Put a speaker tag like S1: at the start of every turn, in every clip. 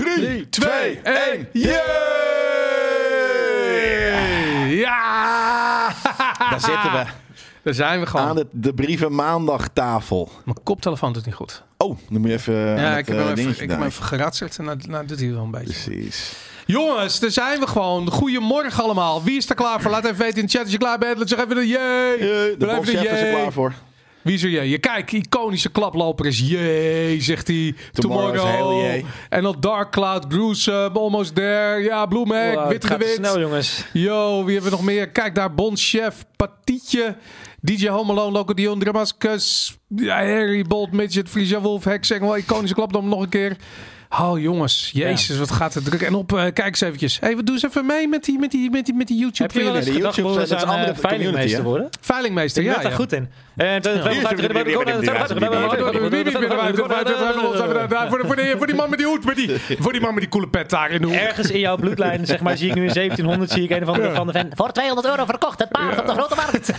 S1: 3, 2, 1, yeah! Ja!
S2: Daar zitten we.
S1: Daar zijn we gewoon.
S2: Aan de, de brieven maandagtafel.
S1: Mijn koptelefoon doet niet goed.
S2: Oh, dan moet je even eh,
S1: ja,
S2: aan
S1: ik
S2: het,
S1: heb hem
S2: eh,
S1: even,
S2: dingetje
S1: ik heb hem
S2: daar. Dus-
S1: even geratserd en nou, nou doet hij wel een beetje.
S2: Precies.
S1: Jongens, daar zijn we gewoon. Goedemorgen allemaal. Wie is er klaar voor? Laat even weten in de chat als je klaar bent. Laat zeg even Eh, de eh, jee.
S2: De
S1: Doe even
S2: bochef is er
S1: jee.
S2: klaar voor.
S1: Wie is er jee? Je kijk, iconische klaploper is jee, zegt hij.
S2: Tomorrow
S1: Tomorrow.
S2: is heel jee.
S1: En dan Dark Cloud, Gruesome, Almost There. Ja, Blue Mac,
S3: Wow,
S1: Wit
S3: het gaat
S1: Gewit.
S3: snel, jongens.
S1: Yo, wie hebben we nog meer? Kijk daar, Bonchef, Patietje, DJ Homeloon, Loco Dion, Dramascus, ja, Harry, Bolt, Midget, Frisia Wolf, Hex, Engel, Iconische Klapdom nog een keer. Oh jongens, jezus, wat gaat het druk. En op, eh, kijk eens eventjes. Hé, hey, doe eens even mee met die, met die, met die, met die
S3: Heb je wel
S1: YouTube-veiling.
S3: eens
S2: Nee, de
S3: gedacht,
S2: YouTube
S3: Boris,
S2: zet het
S3: aan
S2: andere
S3: eh,
S2: community, hè?
S3: veilingmeester worden?
S1: Veilingmeester,
S3: Ik
S1: ja.
S3: ben daar
S1: ja.
S3: goed in. En dat- dat- dat- dat-
S1: Voor de- voor die- Voor die man met die hoed, met die, voor die man met die coole pet daar in de hoek.
S3: Ergens in jouw bloedlijn, zeg maar, zie ik nu in 1700 zie ik een of andere van de fan.
S4: Voor 200 euro verkocht het paard op de grote markt.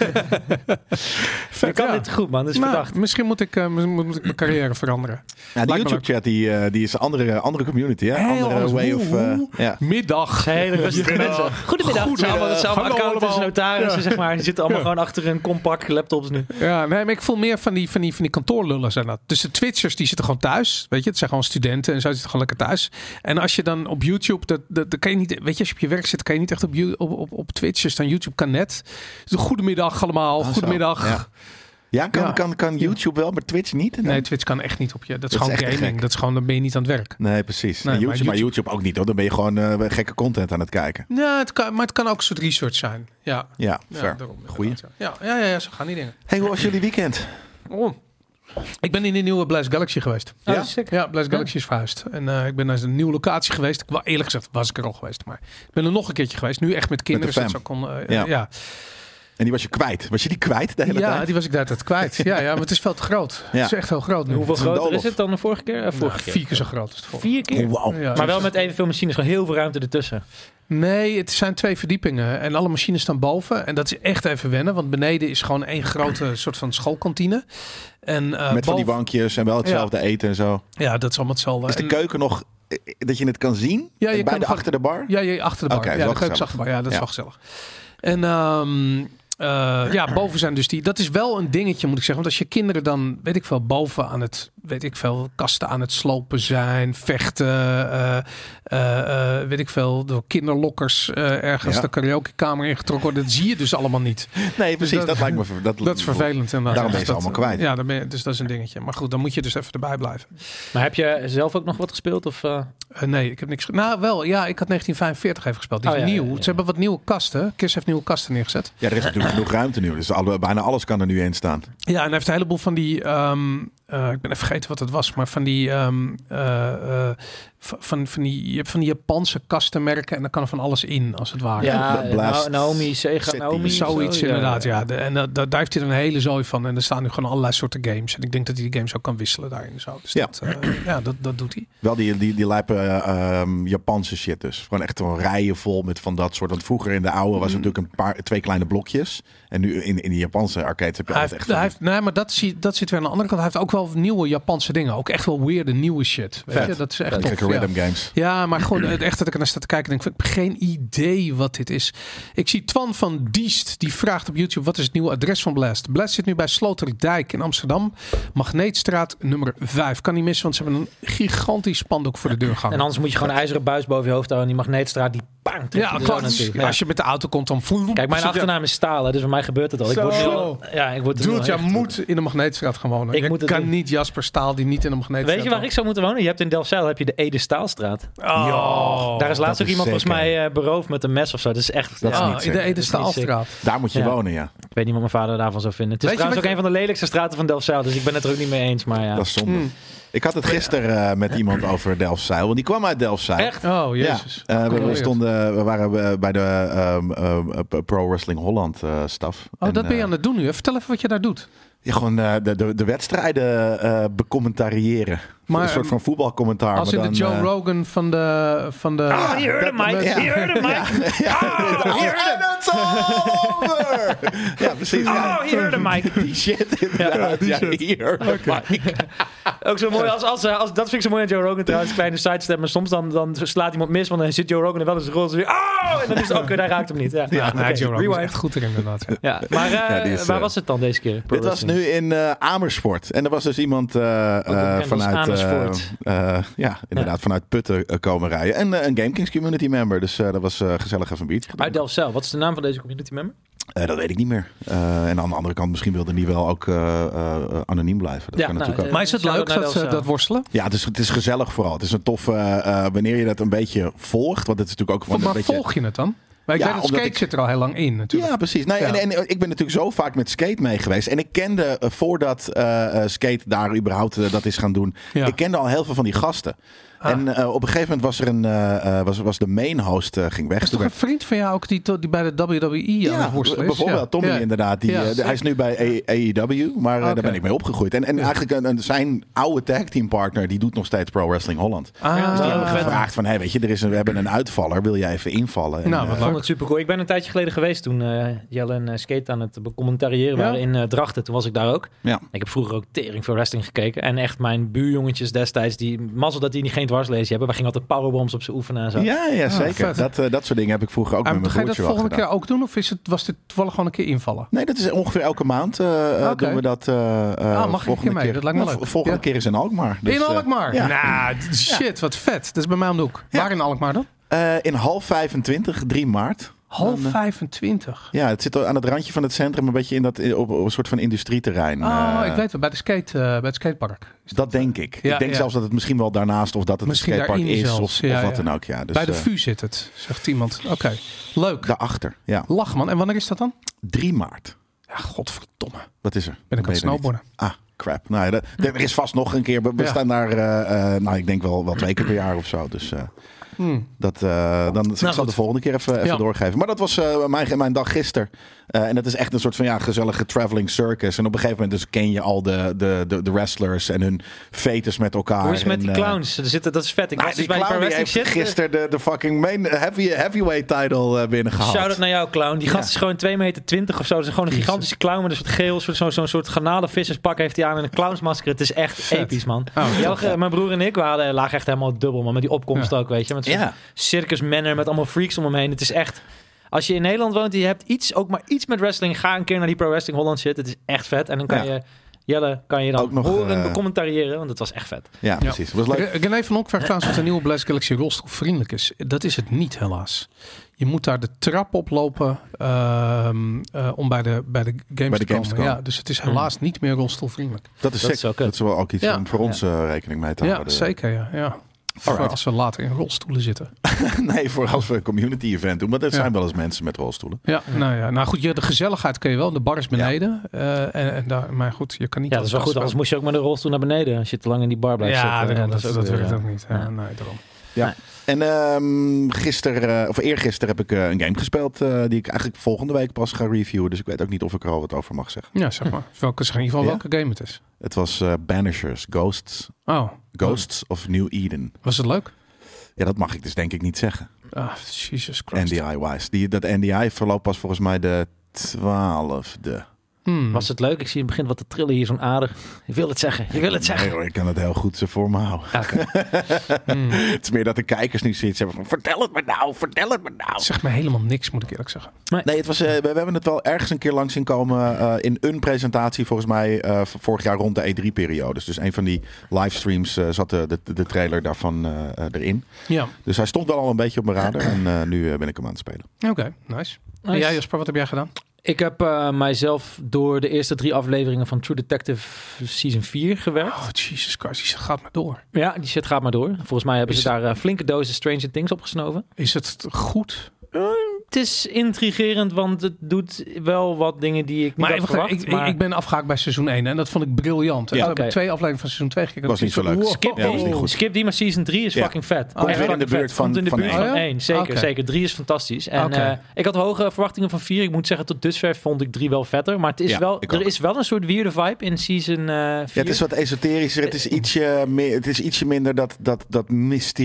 S3: Ik kan
S1: ja.
S3: dit goed, man. Dat is
S1: Nou,
S3: verdacht.
S1: misschien moet ik, eh, misschien moet ik mijn carrière veranderen.
S2: Ja,
S1: me
S2: de YouTube-chat die, eh, die is een andere, andere community, hè?
S1: Heel
S2: andere
S1: anders.
S2: way of... eh,
S1: Woe.
S2: ja.
S1: Middag.
S3: Het zijn hele rustige mensen. Goedemiddag. Het zijn allemaal hetzelfde
S1: Hallo
S3: accountants,
S1: allemaal.
S3: notarissen, zeg maar. Die zitten allemaal gewoon achter hun compact laptops nu.
S1: Ja, nee, maar ik voel meer van die, van die, van die kantoorlullen zijn dat. Dus de Twitchers die zitten gewoon thuis. Weet je, het zijn gewoon studenten en zo die zitten gewoon lekker thuis. En als je dan op YouTube, dat, dat, dat kan je niet, weet je, als je op je werk zit, kan je niet echt op, You- op, op, op Twitch. Dus dan YouTube kan net. Dus goedemiddag allemaal,
S2: Ah, zo.
S1: goedemiddag.
S2: Ja. Ja, kan,
S1: Ja.
S2: Kan, kan YouTube wel, maar Twitch niet?
S1: Nee, Twitch kan echt niet op je. Dat
S2: Dat
S1: is
S2: is
S1: gewoon
S2: echt te
S1: gaming.
S2: gek.
S1: Dat is gewoon, dan ben je niet aan het werk.
S2: Nee, precies.
S1: Nee,
S2: En
S1: maar
S2: YouTube, maar YouTube ook niet, hoor. Dan ben je gewoon eh, gekke content aan het kijken.
S1: Ja, Nou, het kan, maar het kan ook een soort research zijn. Ja,
S2: Ja,
S1: ja
S2: fair.
S1: daarom,
S2: Goeie.
S1: inderdaad, Ja, ja, ja, ja, zo gaan die dingen.
S2: Hey, hoe was jullie weekend?
S1: Oh. Ik ben in die nieuwe Blast Galaxy geweest.
S3: Ja?
S1: Ja, ja Blast Galaxy is verhuisd. En eh, ik ben naar een nieuwe locatie geweest. Ik, wel, eerlijk gezegd was ik er al geweest. Maar ik ben er nog een keertje geweest. Nu echt met kinderen.
S2: Met de
S1: zodat ze ook kon, eh,
S2: Ja.
S1: eh, ja.
S2: En die was je kwijt. Was je die kwijt de hele
S1: ja,
S2: tijd?
S1: die was ik daar tijd kwijt. Ja, ja, maar het is veel te groot.
S2: Ja.
S1: Het is echt heel groot nu.
S3: Hoeveel
S2: is een
S3: groter is
S2: doolhof.
S3: het dan de vorige keer? Eh,
S1: Nou,
S3: vorige keer.
S1: vier keer zo groot als het vorige.
S3: Vier keer?
S2: Oh, wauw.
S1: Ja. dus
S3: Maar wel met evenveel machines, gewoon heel veel ruimte ertussen.
S1: Nee, het zijn twee verdiepingen. En alle machines staan boven. En dat is echt even wennen. Want beneden is gewoon één grote soort van schoolkantine. En, eh,
S2: Met van die
S1: boven-
S2: bankjes en wel hetzelfde eten en zo.
S1: Ja, dat is allemaal hetzelfde.
S2: Is de
S1: En-
S2: keuken nog eh, dat je het kan zien?
S1: Ja, je
S2: En bij
S1: kan
S2: de
S1: gewoon-
S2: achter de bar?
S1: Ja, ja achter de bar.
S2: Oké,
S1: ja,
S2: wel
S1: de keuken is
S2: gezellig.
S1: achter de bar. Ja, dat is
S2: Ja.
S1: wel gezellig. En ehm, eh, ja, boven zijn dus die... Dat is wel een dingetje, moet ik zeggen. Want als je kinderen dan, weet ik veel, boven aan het... Weet ik veel, kasten aan het slopen zijn, vechten... eh, eh, eh, weet ik veel, door kinderlokkers eh, ergens
S2: Ja.
S1: de karaokekamer ingetrokken worden. Dat zie je dus allemaal niet.
S2: Nee, precies.
S1: Dus dat-
S2: dat, lijkt me ver- dat,
S1: Dat is vervelend. En
S2: Daarom ben je ze allemaal kwijt.
S1: Ja, dan ben je- dus dat is een dingetje. Maar goed, dan moet je dus even erbij blijven.
S3: Maar heb je zelf ook nog wat gespeeld? Of, eh?
S1: Eh, nee, ik heb niks... ge- Nou, wel, ja, ik had 1945 even gespeeld. Die is
S3: Oh, ja, ja,
S1: nieuw.
S3: ja, ja.
S1: Ze hebben wat nieuwe kasten. Kiss heeft nieuwe kasten neergezet.
S2: Ja, er is natuurlijk genoeg ruimte nu. Dus alle, bijna alles kan er nu in staan.
S1: Ja, en hij heeft een heleboel van die. ehm, eh, ik ben even vergeten wat het was, maar van die. ehm, eh, eh, v- van, van die je hebt van die Japanse kastenmerken en dan kan er van alles in, als het ware.
S3: Ah, Ja, eh,
S2: dat blaast-
S3: Na- Naomi, Sega,
S2: Zet die-
S3: Naomi. of
S1: Zoiets
S3: zo, ja.
S1: inderdaad, ja. De- en daar daar heeft hij er een hele zooi van. En er staan nu gewoon allerlei soorten games. En ik denk dat hij die games ook kan wisselen daarin. en Zo. Dus
S2: Ja.
S1: dat, eh, ja, dat, dat doet hij.
S2: Wel die, die, die lijpe eh, ehm, Japanse shit dus. Gewoon echt gewoon rijen vol met van dat soort. Want vroeger in de oude
S1: Mm.
S2: was het natuurlijk een paar, twee kleine blokjes. En nu in, in die Japanse arcades heb je
S1: Hij
S2: altijd
S1: heeft,
S2: echt van
S1: hij
S2: die-
S1: heeft, nee, maar dat, zie, dat zit weer aan de andere kant. Hij heeft ook wel nieuwe Japanse dingen. Ook echt wel weirde nieuwe shit. Weet
S2: Vet.
S1: je? Dat is echt
S2: gekke
S1: tof, ja.
S2: random games.
S1: Ja, maar gewoon het echt dat ik ernaar sta te kijken en denk ik, ik heb geen idee wat dit is. Ik zie Twan van Diest, die vraagt op YouTube wat is het nieuwe adres van Blast. Blast zit nu bij Sloterdijk in Amsterdam, Magneetstraat nummer 5. Kan niet missen, want ze hebben een gigantisch spandoek voor de deur
S3: En
S1: gehangen.
S3: anders moet je gewoon een ijzeren buis boven je hoofd houden. En die magneetstraat, die bang. trekt
S1: Ja,
S3: je er
S1: klopt.
S3: aan natuurlijk.
S1: Als je met de auto komt, dan voel
S3: Kijk, mijn
S1: zit
S3: achternaam is Stalen, dus bij mij gebeurt het al. Ik
S1: Zo.
S3: word nu al- ja, ik word
S1: Je,
S3: er nu al
S1: Doelt, jij
S3: echt-
S1: moet in de Magneetstraat gaan wonen.
S3: Ik
S1: Je
S3: moet het
S1: kan
S3: doen.
S1: niet Jasper Staal die niet in de Magneetstraat
S3: Weet je waar ik zou moeten wonen? Je hebt in Delfzijl heb je de Ede Staalstraat.
S1: Oh.
S3: Daar is laatst
S2: dat
S3: ook
S2: is
S3: iemand volgens
S2: zeker.
S3: mij eh, beroofd met een mes of zo. Dat is echt...
S2: Dat is
S3: ja,
S1: Ah,
S2: niet
S1: in
S2: zeker.
S1: de
S3: Dat
S1: Ede
S3: is niet
S1: Staalstraat.
S2: Daar moet je
S3: Ja.
S2: wonen, ja.
S3: Ik weet niet wat mijn vader daarvan zou vinden. Het is
S1: Weet je
S3: trouwens ook
S1: wat
S3: een van de lelijkste straten van Delfzijl. Dus ik ben het er ook niet mee eens. Maar ja.
S2: Dat is zonde. Ik had het gisteren eh, met iemand over Delfzijl. Want die kwam uit Delfzijl.
S3: Echt?
S1: Oh, jezus.
S2: Ja, eh, we- we,
S1: Gecontroleerd.
S2: stonden, we waren eh, bij de ehm, ehm, eh, Pro Wrestling Holland eh, staf.
S1: Oh,
S2: En,
S1: dat ben je
S2: eh,
S1: aan het doen nu. hè? Vertel even wat je daar doet.
S2: Ja, gewoon eh, de, de, de wedstrijden eh becommentariëren.
S1: Maar,
S2: een soort van voetbalcommentaar.
S1: Als in
S2: maar
S1: de
S2: dan,
S1: Joe
S2: eh,
S1: Rogan van de... Van de
S3: Ah, je hoorde Mike,
S1: Ja.
S3: je hoorde Mike. Ah, je hoorde-
S2: En it's all over! ja, precies. ja.
S3: Ah, je hoorde Mike.
S2: Die shit inderdaad. Ja, hier.
S3: Ook zo mooi als, als, eh, als, dat vind ik zo mooi aan Joe Rogan trouwens, kleine sidestep. Maar soms dan, dan slaat iemand mis, want dan zit Joe Rogan er wel eens rond. en dan- Oh, en dan is het, oké, daar raakt hem niet. Ja,
S1: Ja, nee,
S3: oké,
S1: Joe Rogan is
S3: rewind.
S1: echt goed erin inderdaad.
S3: Ja, maar eh,
S2: Ja, die is,
S3: waar
S2: eh,
S3: was het dan deze keer? Pro
S2: Dit was
S3: Wrestling?
S2: nu in eh, Amersfoort. En er was dus iemand eh, eh,
S3: als
S2: vanuit... eh,
S3: Amersfoort.
S2: eh, ja, inderdaad, vanuit Putten eh, komen rijden. En eh, een GameKings community member. Dus eh, dat was eh, gezellig even een biertje.
S3: Uit Delft zelf. Wat is de naam van deze community member?
S2: Eh, dat weet ik niet meer. Eh, en aan de andere kant, misschien wilde die wel ook eh, eh, anoniem blijven. Dat
S3: Ja,
S2: kan
S3: nou,
S2: natuurlijk ook.
S1: Maar is het
S3: Shout-out
S1: leuk
S3: naar
S1: dat ze
S3: Delfzijl.
S1: dat worstelen?
S2: Ja, het is, het is gezellig vooral. Het is een tof, eh, eh, wanneer je dat een beetje volgt. Want het is natuurlijk ook van een
S1: maar
S2: beetje...
S1: volg je het dan? Maar ik
S2: Ja,
S1: weet dat
S2: omdat
S1: skate
S2: ik-
S1: zit er al heel lang in natuurlijk.
S2: Ja, precies. Nee,
S1: Ja.
S2: En, en ik ben natuurlijk zo vaak met skate mee geweest. En ik kende eh, voordat eh, eh, skate daar überhaupt eh, dat is gaan doen.
S1: Ja. Ah.
S2: Ik kende al heel veel van die gasten. En eh, op een gegeven moment was er een eh, eh, was, was de main host eh, ging weg.
S1: is toch
S2: Toen
S1: een vriend van jou ook die, to- die bij de WWE aan het worstelen is?
S2: bijvoorbeeld
S1: Ja.
S2: Tommy
S1: Ja.
S2: inderdaad. Die,
S1: Ja,
S2: eh, de- hij is nu bij A- AEW, maar eh,
S1: Oké.
S2: daar ben ik mee opgegroeid. En, en eigenlijk eh, een, een- zijn oude tag team partner, die doet nog steeds Pro Wrestling Holland.
S1: Ah,
S3: Dus die hebben we vet.
S2: Gevraagd van, hey, weet je, er is een, we hebben een uitvaller, wil jij even invallen? En,
S1: Nou,
S2: eh,
S1: wat
S3: Ik vond het super cool. Ik ben een tijdje geleden geweest toen eh, Jelle en eh, Skate aan het becommentariëren
S1: Ja?
S3: waren in eh, Drachten. Toen was ik daar ook.
S2: eh, ja.
S3: Ik heb vroeger ook tering voor wrestling gekeken. En echt mijn buurjongetjes destijds, die mazzel dat die niet geen dwarslezen hebben. Wij gingen altijd powerbombs op ze oefenen en zo.
S2: Ja, ja, zeker.
S1: Ah, vet.
S2: dat, eh, dat soort dingen heb ik vroeger ook
S1: Ah,
S2: met mijn
S1: ga je dat
S2: broertje wel
S1: volgende
S2: gedaan.
S1: keer ook doen? Of is het, was dit toevallig gewoon een keer invallen?
S2: Nee, dat is ongeveer elke maand eh, eh,
S1: Ah, Oké. Ah,
S2: doen we dat. eh eh,
S1: een keer
S2: volgende
S1: mee? Dat lijkt me
S2: Nou,
S1: leuk.
S2: Volgende
S1: Ja.
S2: keer is in Alkmaar. Dus,
S1: in
S2: eh,
S1: Alkmaar?
S2: ja.
S1: Nou, d- shit, wat vet. Dat is bij mij om de hoek. Waar in Alkmaar dan?
S2: eh, in half 25, 3 maart.
S1: Half
S2: Dan, eh,
S1: 25.
S2: Ja, het zit al aan het randje van het centrum, een beetje in dat, in- op, op een soort van industrieterrein.
S1: Oh,
S2: eh, dus
S1: ik weet het. Bij, de skate, eh, bij het skatepark.
S2: Dat denk ik.
S1: Ja,
S2: ik denk
S1: ja.
S2: zelfs dat het misschien wel daarnaast of dat het
S1: Misschien
S2: een skatepark
S1: daarin
S2: is
S1: zelfs.
S2: of, of
S1: Ja,
S2: wat
S1: ja.
S2: dan ook. Ja. Dus,
S1: bij de
S2: eh,
S1: VU zit het, zegt iemand. Oké, leuk.
S2: daarachter, ja.
S1: Lach man. En wanneer is dat dan?
S2: 3 maart.
S1: Ja, godverdomme.
S2: Wat is er?
S1: Ben ik aan
S2: weet
S1: het
S2: er niet.
S1: snowboarden.
S2: Ah, crap. Nou, ja, dat- er is vast nog een keer. We, we
S1: Ja.
S2: staan daar, eh, eh, nou, ik denk wel, wel twee keer per jaar of zo. Dus eh,
S1: Hmm.
S2: dat, eh, dan ik zal
S3: Nou, goed.
S2: de volgende keer even, even
S1: Ja.
S2: doorgeven. Maar dat was eh, mijn, mijn dag gisteren. Eh, en dat is echt een soort van ja, gezellige traveling circus. En op een gegeven moment dus ken je al de, de, de, de wrestlers en hun fetus met elkaar.
S3: Hoe is het met
S2: En,
S3: die
S2: eh,
S3: clowns? Er zitten, dat is vet. Ik
S2: nou,
S3: was
S2: die
S3: dus bij die paar
S2: clown die
S3: wrestling
S2: heeft
S3: shit.
S2: gisteren de, de fucking main eh, heavy, heavyweight title eh binnengehaald.
S3: Shout-out naar jou, clown. Die gast is gewoon 2 meter 20 of zo. Dat is gewoon een gigantische clown met een soort geel, soort, zo'n zo'n soort garnalenvisserspak heeft hij aan en een clownsmasker. Het is echt episch, man.
S2: Oh,
S1: Oh,
S3: Jelge, mijn broer en ik, we hadden, lagen echt helemaal dubbel, man. Met die opkomst ook, weet je. Met zo'n
S2: Ja.
S3: circus manner, met allemaal freaks om hem heen. Het is echt... Als je in Nederland woont en je hebt iets, ook maar iets met wrestling, ga een keer naar die Pro Wrestling Holland shit. Het is echt vet. En dan kan
S2: Ja.
S3: je... Jelle, kan je dan
S2: Ook nog,
S3: horen,
S2: eh,
S3: becommentariëren, want het was echt vet.
S2: Ja, precies. Het was leuk.
S1: Re- René van Honk vraagt trouwens of de nieuwe Blast Galaxy rolstoel vriendelijk is. Dat is het niet, helaas. Je moet daar de trap oplopen ehm, eh, om bij de, bij de games,
S2: games
S1: te,
S2: te
S1: komen.
S2: komen.
S1: Ja, dus het is
S3: Hmm.
S1: helaas niet meer rolstoelvriendelijk.
S2: Dat is
S3: Dat
S2: sick.
S3: is wel kut.
S2: dat is wel ook iets
S1: Ja.
S2: om voor ons eh, rekening mee te
S1: Ja,
S2: houden.
S1: zeker. Ja, ja. Voor
S2: Alright.
S1: als we later in rolstoelen zitten.
S2: Nee, voor als we een community event doen. Want er
S1: Ja.
S2: zijn wel eens mensen met rolstoelen.
S1: Ja, nou ja. Nou goed, je, de gezelligheid kun je wel. De bar is beneden. eh, en, en daar, maar goed, je kan niet...
S3: Ja, dat is wel goed. Anders moest je ook met de rolstoel naar beneden als je te lang in die bar blijft
S1: Ja,
S3: zitten.
S1: daarom, dat, dat,
S3: weer,
S1: werkt
S3: eh,
S1: ook niet. Ja, nee, daarom.
S2: En ehm gisteren, eh, of eergisteren heb ik eh, een game gespeeld. eh, die ik eigenlijk volgende week pas ga reviewen. Dus ik weet ook niet of ik er al wat over mag zeggen.
S1: Ja, zeg maar. Welke, zeg in ieder geval
S2: Ja?
S1: welke game het is.
S2: Het was eh, Banishers, Ghosts.
S1: Oh,
S2: Ghosts of New Eden.
S1: was het leuk?
S2: Ja, dat mag ik dus denk ik niet zeggen.
S1: Ah, Jesus Christ.
S2: NDI-wise. Die, dat NDI verloopt pas volgens mij de twaalfde.
S1: Hmm.
S3: Was het leuk? Ik zie in het begin wat te trillen hier zo'n aardig. Je wil het zeggen, je wil het zeggen.
S2: Nee hoor, ik kan het heel goed zo voor me houden.
S1: Hmm.
S2: Het is meer dat de kijkers nu zoiets hebben van... Vertel het me nou, vertel het me nou.
S1: Het zegt me helemaal niks, moet ik eerlijk zeggen.
S2: Nee, het was, eh, we, we hebben het wel ergens een keer langs zien komen eh, in een presentatie, volgens mij eh, v- vorig jaar rond de E3-periode. Dus een van die livestreams eh, zat de, de, de trailer daarvan eh, eh, erin.
S1: Ja,
S2: Dus hij stond wel al een beetje op mijn radar en eh, nu eh, ben ik hem aan het spelen.
S1: oké, nice. En
S3: Nice.
S1: jij Jasper, wat heb jij gedaan?
S3: Ik heb eh, mijzelf door de eerste drie afleveringen van True Detective Season 4 gewerkt.
S1: Oh, Jesus Christ, die gaat maar door.
S3: Ja, die shit gaat maar door. Volgens mij hebben
S1: Is
S3: ze daar eh, flinke dozen Stranger Things opgesnoven.
S1: Is het goed?
S3: Het is intrigerend, want het doet wel wat dingen die ik niet
S1: Maar,
S3: had
S1: even,
S3: verwacht.
S1: ik,
S3: maar
S1: ik ben afgehaakt bij seizoen 1 en dat vond ik briljant.
S2: Ja.
S1: Ja,
S3: Oké.
S1: twee afleveringen van seizoen 2 gekeken.
S2: Was niet zo leuk.
S1: Wow.
S3: skip,
S2: Ja, dat is
S3: die,
S2: niet goed.
S3: skip die, maar season 3 is
S2: Ja.
S3: fucking vet.
S2: weer
S3: Echt
S2: in de
S3: fucking
S2: buurt
S3: vet.
S2: van-
S3: Komt in de
S2: van
S3: buurt
S2: één.
S3: van
S1: Oh ja?
S3: 1. Zeker,
S1: Oké.
S3: zeker. 3 is fantastisch. En
S1: Oké.
S3: eh, ik had hoge verwachtingen van 4. Ik moet zeggen, tot dusver vond ik 3 wel vetter. Maar het is
S2: Ja,
S3: wel,
S2: ik
S3: er
S2: ook.
S3: is wel een soort weirde vibe in season eh 4.
S2: Ja, het is wat esoterischer. Het is ietsje, meer, het is ietsje minder dat, dat, dat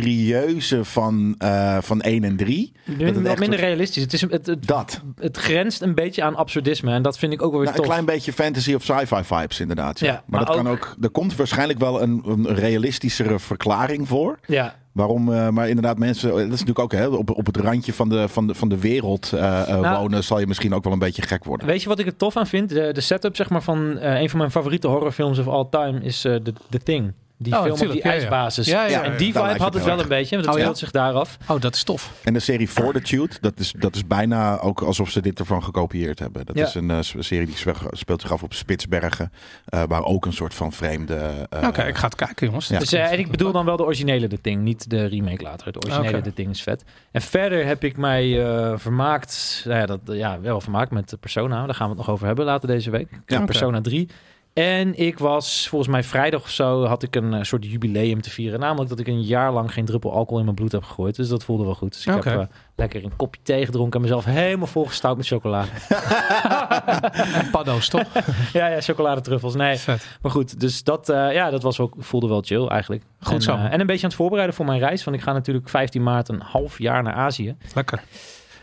S2: mysterieuze van, eh van 1 en 3. Dat het
S3: wat
S2: echt
S3: minder
S2: wordt-
S3: realistisch. Het, is, het, het,
S2: Dat.
S3: het grenst een beetje aan absurdisme. En dat vind ik ook wel weer
S2: Nou, een
S3: tof.
S2: klein beetje fantasy of sci-fi vibes inderdaad. Ja.
S3: Ja,
S2: maar,
S3: maar
S2: dat kan ook. Er komt waarschijnlijk wel een, een realistischere verklaring voor.
S3: Ja.
S2: Waarom, eh, maar inderdaad, mensen, dat is natuurlijk ook hè, op, op het randje van de, van de, van de wereld eh, eh,
S3: Nou.
S2: wonen, zal je misschien ook wel een beetje gek worden.
S3: Weet je wat ik er tof aan vind? De, de setup zeg maar, van eh, een van mijn favoriete horrorfilms of all time is eh, The, The Thing. Die
S1: Oh,
S3: film op
S1: natuurlijk,
S3: die
S1: ja, ja.
S3: ijsbasis.
S1: Ja, ja, ja.
S3: En die
S2: Daar
S3: vibe
S2: lijkt
S3: had
S2: het
S3: het
S2: heel
S3: wel een beetje, want het
S1: Oh, ja.
S3: speelt zich daar af.
S1: Oh, dat is tof.
S2: En de serie Fortitude, dat is, dat is bijna ook alsof ze dit ervan gekopieerd hebben. Dat
S3: Ja.
S2: is een eh, s- serie die spe- speelt zich af op Spitsbergen, eh, waar ook een soort van vreemde... eh,
S1: Oké, ik ga het kijken, jongens.
S2: Ja.
S3: Dus eh, en ik bedoel dan wel de originele The Thing, niet de remake later. Het originele
S1: Oké.
S3: The Thing is vet. En verder heb ik mij eh, vermaakt, nou ja, dat, ja, wel vermaakt met Persona. Daar gaan we het nog over hebben later deze week.
S1: oké.
S3: Persona 3. En ik was, volgens mij vrijdag of zo, had ik een eh, soort jubileum te vieren. Namelijk dat ik een jaar lang geen druppel alcohol in mijn bloed heb gegooid. Dus dat voelde wel goed. Dus ik
S1: Oké.
S3: heb eh, lekker een kopje thee gedronken en mezelf helemaal volgestouwd met chocola.
S1: En paddo's, toch?
S3: ja, ja, chocoladetruffels. Nee,
S1: Vet.
S3: maar goed, dus dat, eh, ja, dat was ook, voelde wel chill eigenlijk.
S1: Goed
S3: en,
S1: zo.
S3: eh, en een beetje aan het voorbereiden voor mijn reis. Want ik ga natuurlijk 15 maart een half jaar naar Azië.
S1: Lekker.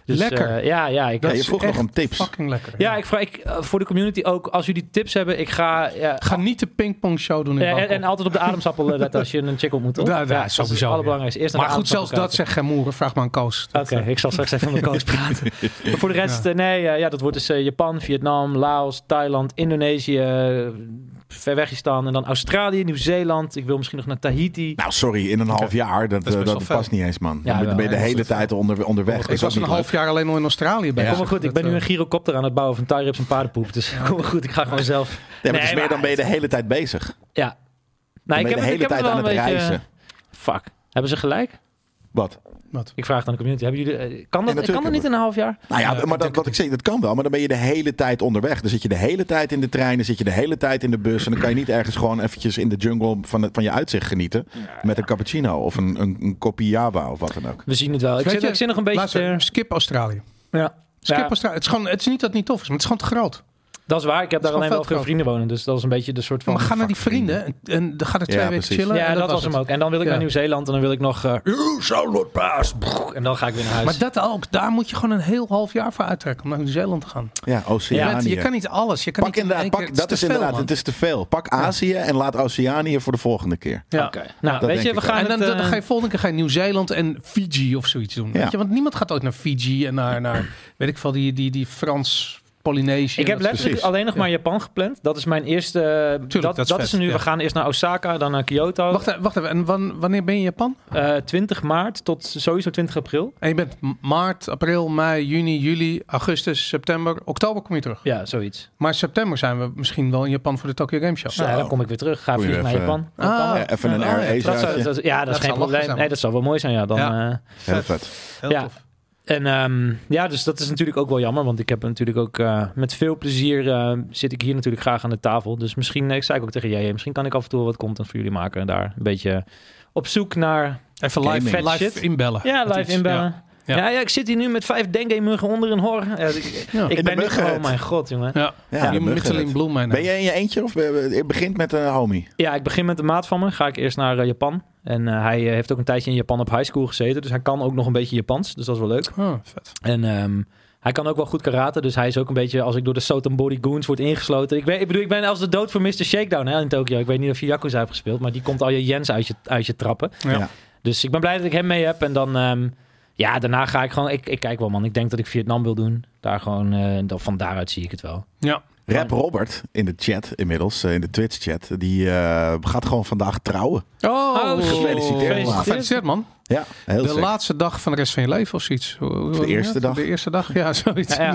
S3: Dus,
S1: Lekker.
S3: eh, ja, ja. Ik,
S2: ja,
S1: dat
S2: je
S1: is
S2: vroeg nog
S1: echt
S2: om tips.
S1: Fucking lekker.
S3: ja, ik vraag ik, eh, voor de community ook. Als jullie tips hebben, ik ga... ja,
S1: Ga niet de pingpong show doen in
S3: eh, en,
S1: Bangkok.
S3: en altijd op de ademsappel eh, letten als je een chick ontmoet. toch?
S1: Ja, ja,
S3: dat is
S1: sowieso,
S3: Het allerbelangrijkste. Eerst naar
S1: maar
S3: de
S1: goed, zelfs dat
S3: ademsappel
S1: zegt geen moeren. Vraag maar aan Koos. eh,
S3: kijken. Oké, ik zal straks even met coach praten. Maar voor de rest, eh, nee, eh, ja, dat wordt dus eh, Japan, Vietnam, Laos, Thailand, Indonesië, eh, ver weg is dan. En dan Australië, Nieuw-Zeeland. Ik wil misschien nog naar Tahiti.
S2: Nou, sorry, in een half jaar, dat,
S1: is
S2: eh,
S1: best
S2: dat
S1: wel
S2: past niet eens, man. dan
S3: Ja,
S2: ben je
S3: wel,
S2: de
S3: ja,
S2: hele
S3: dat is
S2: tijd onder, onderweg. Dat
S1: Ik
S2: is ook
S1: was een
S2: niet leuk.
S1: half jaar alleen al in Australië eh, bij.
S2: Ja.
S3: Kom maar goed, ik ben nu een gyrocopter aan het bouwen van tie-rips en paardenpoep. Dus kom maar goed, ik ga gewoon zelf.
S2: Ja, maar het
S3: Nee,
S2: is meer,
S3: maar-
S2: dan ben je de hele tijd bezig.
S3: Ja.
S2: Dan
S3: Nou,
S2: ben je de hele tijd aan het reizen.
S3: Fuck. Hebben ze gelijk?
S2: Wat?
S3: Ik vraag het aan de community. Hebben jullie, eh, kan
S2: Ja,
S3: dat,
S2: natuurlijk
S3: kan dat niet in een half jaar?
S2: Nou ja,
S1: Ja,
S2: maar
S1: ik
S2: dat,
S1: denk-
S2: wat ik zeg, dat kan wel. Maar dan ben je de hele tijd onderweg. Dan zit je de hele tijd in de trein, dan zit je de hele tijd in de bus. En dan kan je niet ergens gewoon eventjes in de jungle van, het- van je uitzicht genieten. met een cappuccino of een, een, een kopie java of wat dan ook.
S3: We zien het wel. Ik
S1: Weet
S3: zit,
S1: je,
S3: ik zit nog een beetje...
S1: Luister,
S3: te-
S1: skip Australië.
S3: Ja.
S1: Skip
S3: Ja,
S1: Australië. Het is, gewoon, het is niet dat het niet tof is, maar het is gewoon te groot.
S3: dat is waar. Ik heb daar
S1: gewoon
S3: alleen wel veel
S1: veldkoper.
S3: vrienden wonen. Dus dat is een beetje de soort van...
S1: Maar ga naar die vrienden en, en dan ga er twee
S2: Ja,
S1: weken
S2: precies.
S1: chillen.
S3: ja,
S1: en
S3: dat, was hem
S1: het.
S3: ook. En dan wil ik
S1: Ja.
S3: naar Nieuw-Zeeland en dan wil ik nog... eh, Uw Charlotte Paas. Brrr, En dan ga ik weer naar huis.
S1: Maar dat ook, daar moet je gewoon een heel half jaar voor uittrekken om naar Nieuw-Zeeland te gaan.
S2: Ja,
S1: Je,
S2: Oceanië.
S1: bent- je kan niet alles. Je kan
S2: pak
S1: niet in
S2: inderdaad,
S1: één
S2: pak,
S1: keer- het
S2: dat
S1: te
S2: is
S1: veel,
S2: inderdaad,
S1: man.
S2: het is te veel. Pak Azië en laat Oceanië voor de volgende keer.
S1: Ja.
S3: Oké. Nou,
S2: denk
S3: weet je,
S2: ik
S3: we
S2: wel.
S3: gaan
S1: En dan,
S3: het,
S1: dan
S3: eh,
S1: ga je volgende keer ga je Nieuw-Zeeland en Fiji of zoiets doen.
S2: Ja.
S1: Weet je? Want niemand gaat ooit naar Fiji en naar, naar weet ik veel, die, die, die Frans, Polynesië.
S3: Ik heb
S1: en dat soort-
S3: letterlijk alleen nog maar Japan gepland. Dat is mijn eerste. dat,
S1: dat
S3: dat,
S1: is vet,
S3: is nu.
S1: ja.
S3: We gaan eerst naar Osaka, dan naar Kyoto.
S1: Wacht, even, wacht even, en wan- wanneer ben je in Japan?
S3: Eh, 20 maart tot sowieso 20 april.
S1: En je bent m- maart, april, mei, juni, juli, augustus, september. Oktober kom je terug.
S3: Ja, zoiets.
S1: Maar september zijn we misschien wel in Japan voor de Tokyo Game Show.
S2: Zo.
S3: Nou, ja, dan kom ik weer terug. Ga
S2: Moet je
S3: vliegen naar
S2: even-
S3: Japan.
S1: Ah,
S3: Japan.
S2: Ja, even een
S1: Ja,
S2: Air
S1: ja, dat
S2: Asia.
S3: dat zou-
S2: uitje.
S3: dat- ja, dat,
S1: Dat
S3: is
S1: zou
S3: geen
S1: lachen
S3: probleem.
S1: zijn.
S3: Nee, dat zou wel mooi zijn. Ja, dan,
S1: Ja.
S3: eh,
S2: Heel vet.
S1: Heel
S3: Ja.
S1: tof.
S3: en ehm, ja, dus dat is natuurlijk ook wel jammer. Want ik heb natuurlijk ook eh, met veel plezier eh, zit ik hier natuurlijk graag aan de tafel. Dus misschien, eh, ik zei ook tegen jij, misschien kan ik af en toe wat content voor jullie maken. Daar een beetje op zoek naar
S1: Even
S2: Gaming.
S1: live,
S3: Vet
S1: live
S3: shit.
S1: inbellen.
S3: Ja,
S1: Met
S3: live
S1: iets. Ja.
S3: inbellen.
S1: Ja.
S3: Ja. Ja, ik zit hier nu met vijf dengue-muggen onder een hor. Ja, dus ik
S1: Ja.
S3: ik
S2: de
S3: ben nu
S2: muggenhut.
S3: gewoon, oh mijn god, jongen.
S1: Ja.
S2: Ja,
S1: Je
S2: de
S1: moet
S2: muggennet.
S1: Mitteling Bloem meenemen.
S2: Ben jij in je eentje of eh, je begint met een homie?
S3: Ja, ik begin met de maat van me. Ga ik eerst naar eh, Japan. En eh, hij eh, heeft ook een tijdje in Japan op high school gezeten. Dus hij kan ook nog een beetje Japans. Dus dat is wel leuk.
S1: Oh, vet.
S3: En ehm, hij kan ook wel goed karate. Dus hij is ook een beetje, als ik door de Sotonbori Goons word ingesloten. Ik, weet, ik bedoel, ik ben als de dood voor Mr. Shakedown hè, in Tokio. Ik weet niet of je Yakuza hebt gespeeld. Maar die komt al je Jens uit je, uit je trappen.
S1: Ja.
S2: Ja.
S3: Dus ik ben blij dat ik hem mee heb. En dan, ehm, ja, daarna ga ik gewoon... Ik, ik kijk wel, man. Ik denk dat ik Vietnam wil doen. Daar gewoon, eh, dan, van daaruit zie ik het wel.
S1: Ja.
S2: Rap Robert in de chat inmiddels, eh, in de Twitch-chat, die eh, gaat gewoon vandaag trouwen.
S1: Oh,
S2: gefeliciteerd, man.
S1: Gefeliciteerd, man.
S2: Ja, heel
S1: De
S2: sick.
S1: laatste dag van de rest van je leven of zoiets. Hoe- hoe noem je
S2: eerste
S1: dat?
S2: dag.
S1: De eerste dag, ja, zoiets.
S3: Ja,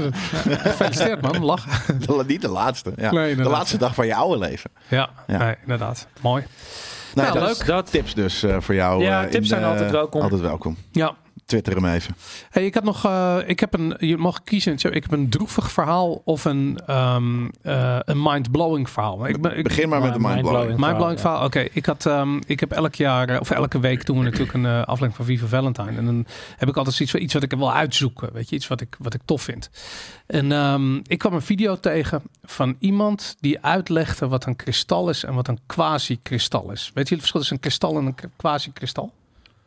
S3: ja.
S1: Gefeliciteerd, man. Lach.
S2: De la- niet de laatste. Ja.
S1: Nee,
S2: de
S1: inderdaad.
S2: laatste dag van je oude leven.
S1: Ja,
S2: Ja.
S1: Nee, inderdaad. Mooi.
S2: Nou,
S1: Nou,
S2: dat
S1: leuk.
S2: is
S3: Dat,
S2: Tips dus eh, voor jou.
S3: Ja,
S2: eh,
S3: tips zijn
S2: eh,
S3: altijd welkom.
S2: Altijd welkom.
S1: Ja,
S2: Twitter hem even.
S1: Hey, ik had nog, eh, ik heb een, je mag kiezen. Ik heb een droevig verhaal of een, ehm eh, een mind-blowing verhaal. Ik, ben- ik,
S2: Begin maar met de mindblowing.
S1: Mijn belangrijk verhaal. Oké, ik had, ehm, ik heb elk jaar eh, of elke week doen we natuurlijk een eh, aflevering van Viva Valentine. En dan heb ik altijd zoiets van iets wat ik wil uitzoeken, weet je, iets wat ik wat ik tof vind. En ehm, ik kwam een video tegen van iemand die uitlegde wat een kristal is en wat een quasi-kristal is. Weet je het verschil tussen een kristal en een k- quasi-kristal?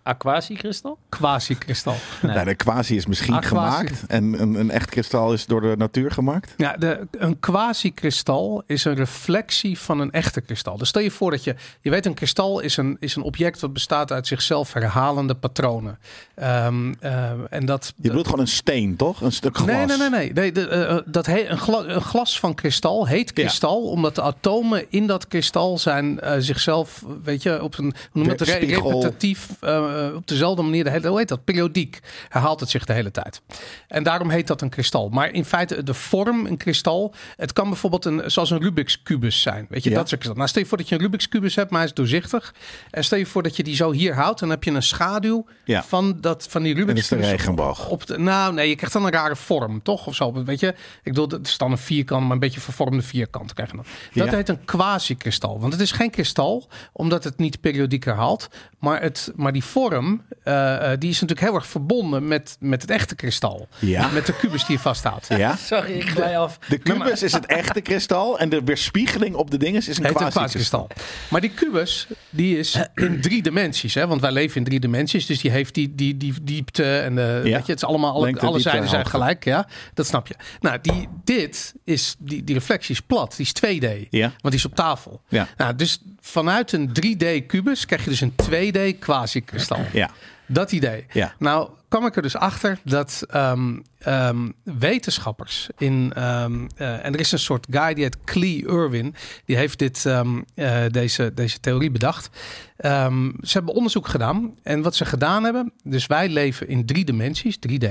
S3: Aquasi-kristal?
S1: Quasi-kristal.
S2: Nou, de quasi is misschien
S1: Ah, quasi.
S2: gemaakt. En een, een echt kristal is door de natuur gemaakt.
S1: Ja, de, een quasi-kristal is een reflectie van een echte kristal. Dus stel je voor dat je... Je weet, een kristal is een, is een object dat bestaat uit zichzelf herhalende patronen. Ehm, ehm, en dat...
S2: Je bedoelt gewoon een steen, toch? Een stuk glas.
S1: Nee, nee, nee. nee. nee de, eh, eh, dat he- een, gla- een glas van kristal heet kristal... omdat de atomen in dat kristal zijn eh, zichzelf, weet je, op een... Hoe noem je dat? Re-
S2: Spiegel.
S1: repetitief, eh, op dezelfde manier, de hele, hoe heet dat? Periodiek herhaalt het zich de hele tijd. En daarom heet dat een kristal. Maar in feite, de vorm, een kristal, het kan bijvoorbeeld een, zoals een Rubik's kubus zijn. Weet je,
S2: Ja.
S1: dat soort kristal. Nou, stel je voor dat je een Rubik's kubus hebt, maar hij is doorzichtig. En stel je voor dat je die zo hier houdt, dan heb je een schaduw
S2: Ja.
S1: van, dat, van die Rubik's
S2: En dat is de
S1: kubus
S2: regenboog.
S1: op de, nou, nee, je krijgt dan een rare vorm, toch? Of zo, weet je. Ik bedoel, het is dan een vierkant, maar een beetje vervormde vierkant krijg je dan. Dat
S2: Ja.
S1: heet een quasi-kristal. Want het is geen kristal, omdat het niet periodiek herhaalt. Maar, het, maar die vorm, eh, eh, die is natuurlijk heel erg verbonden met, met het echte kristal.
S2: Ja.
S1: Met de kubus die je vasthoudt.
S2: Ja?
S3: Sorry, ik glij af.
S2: De kubus is het echte kristal. En de weerspiegeling op de dinges is een
S1: Het heet
S2: quasi
S1: een quasi-kristal. Maar die kubus, die is in drie dimensies. Hè? Want wij leven in drie dimensies. Dus die heeft die, die, die diepte en de,
S2: Ja.
S1: weet je, het is allemaal, alle,
S2: Lengte,
S1: alle
S2: diepte,
S1: zijden zijn
S2: hoogte.
S1: gelijk. Ja? Dat snap je. Nou, die, dit is, die, die reflectie is plat. Die is 2D.
S2: Ja.
S1: Want die is op tafel.
S2: Ja.
S1: Nou, dus vanuit een 3D-kubus krijg je dus een 2D quasi-kristal.
S2: Ja.
S1: Dat idee.
S2: Ja.
S1: Nou kwam ik er dus achter dat ehm, ehm, wetenschappers in... ehm, eh, en er is een soort guy die heet Clee Irwin. Die heeft dit, ehm, eh, deze, deze theorie bedacht. Ehm, ze hebben onderzoek gedaan. En wat ze gedaan hebben... Dus wij leven in drie dimensies, 3D.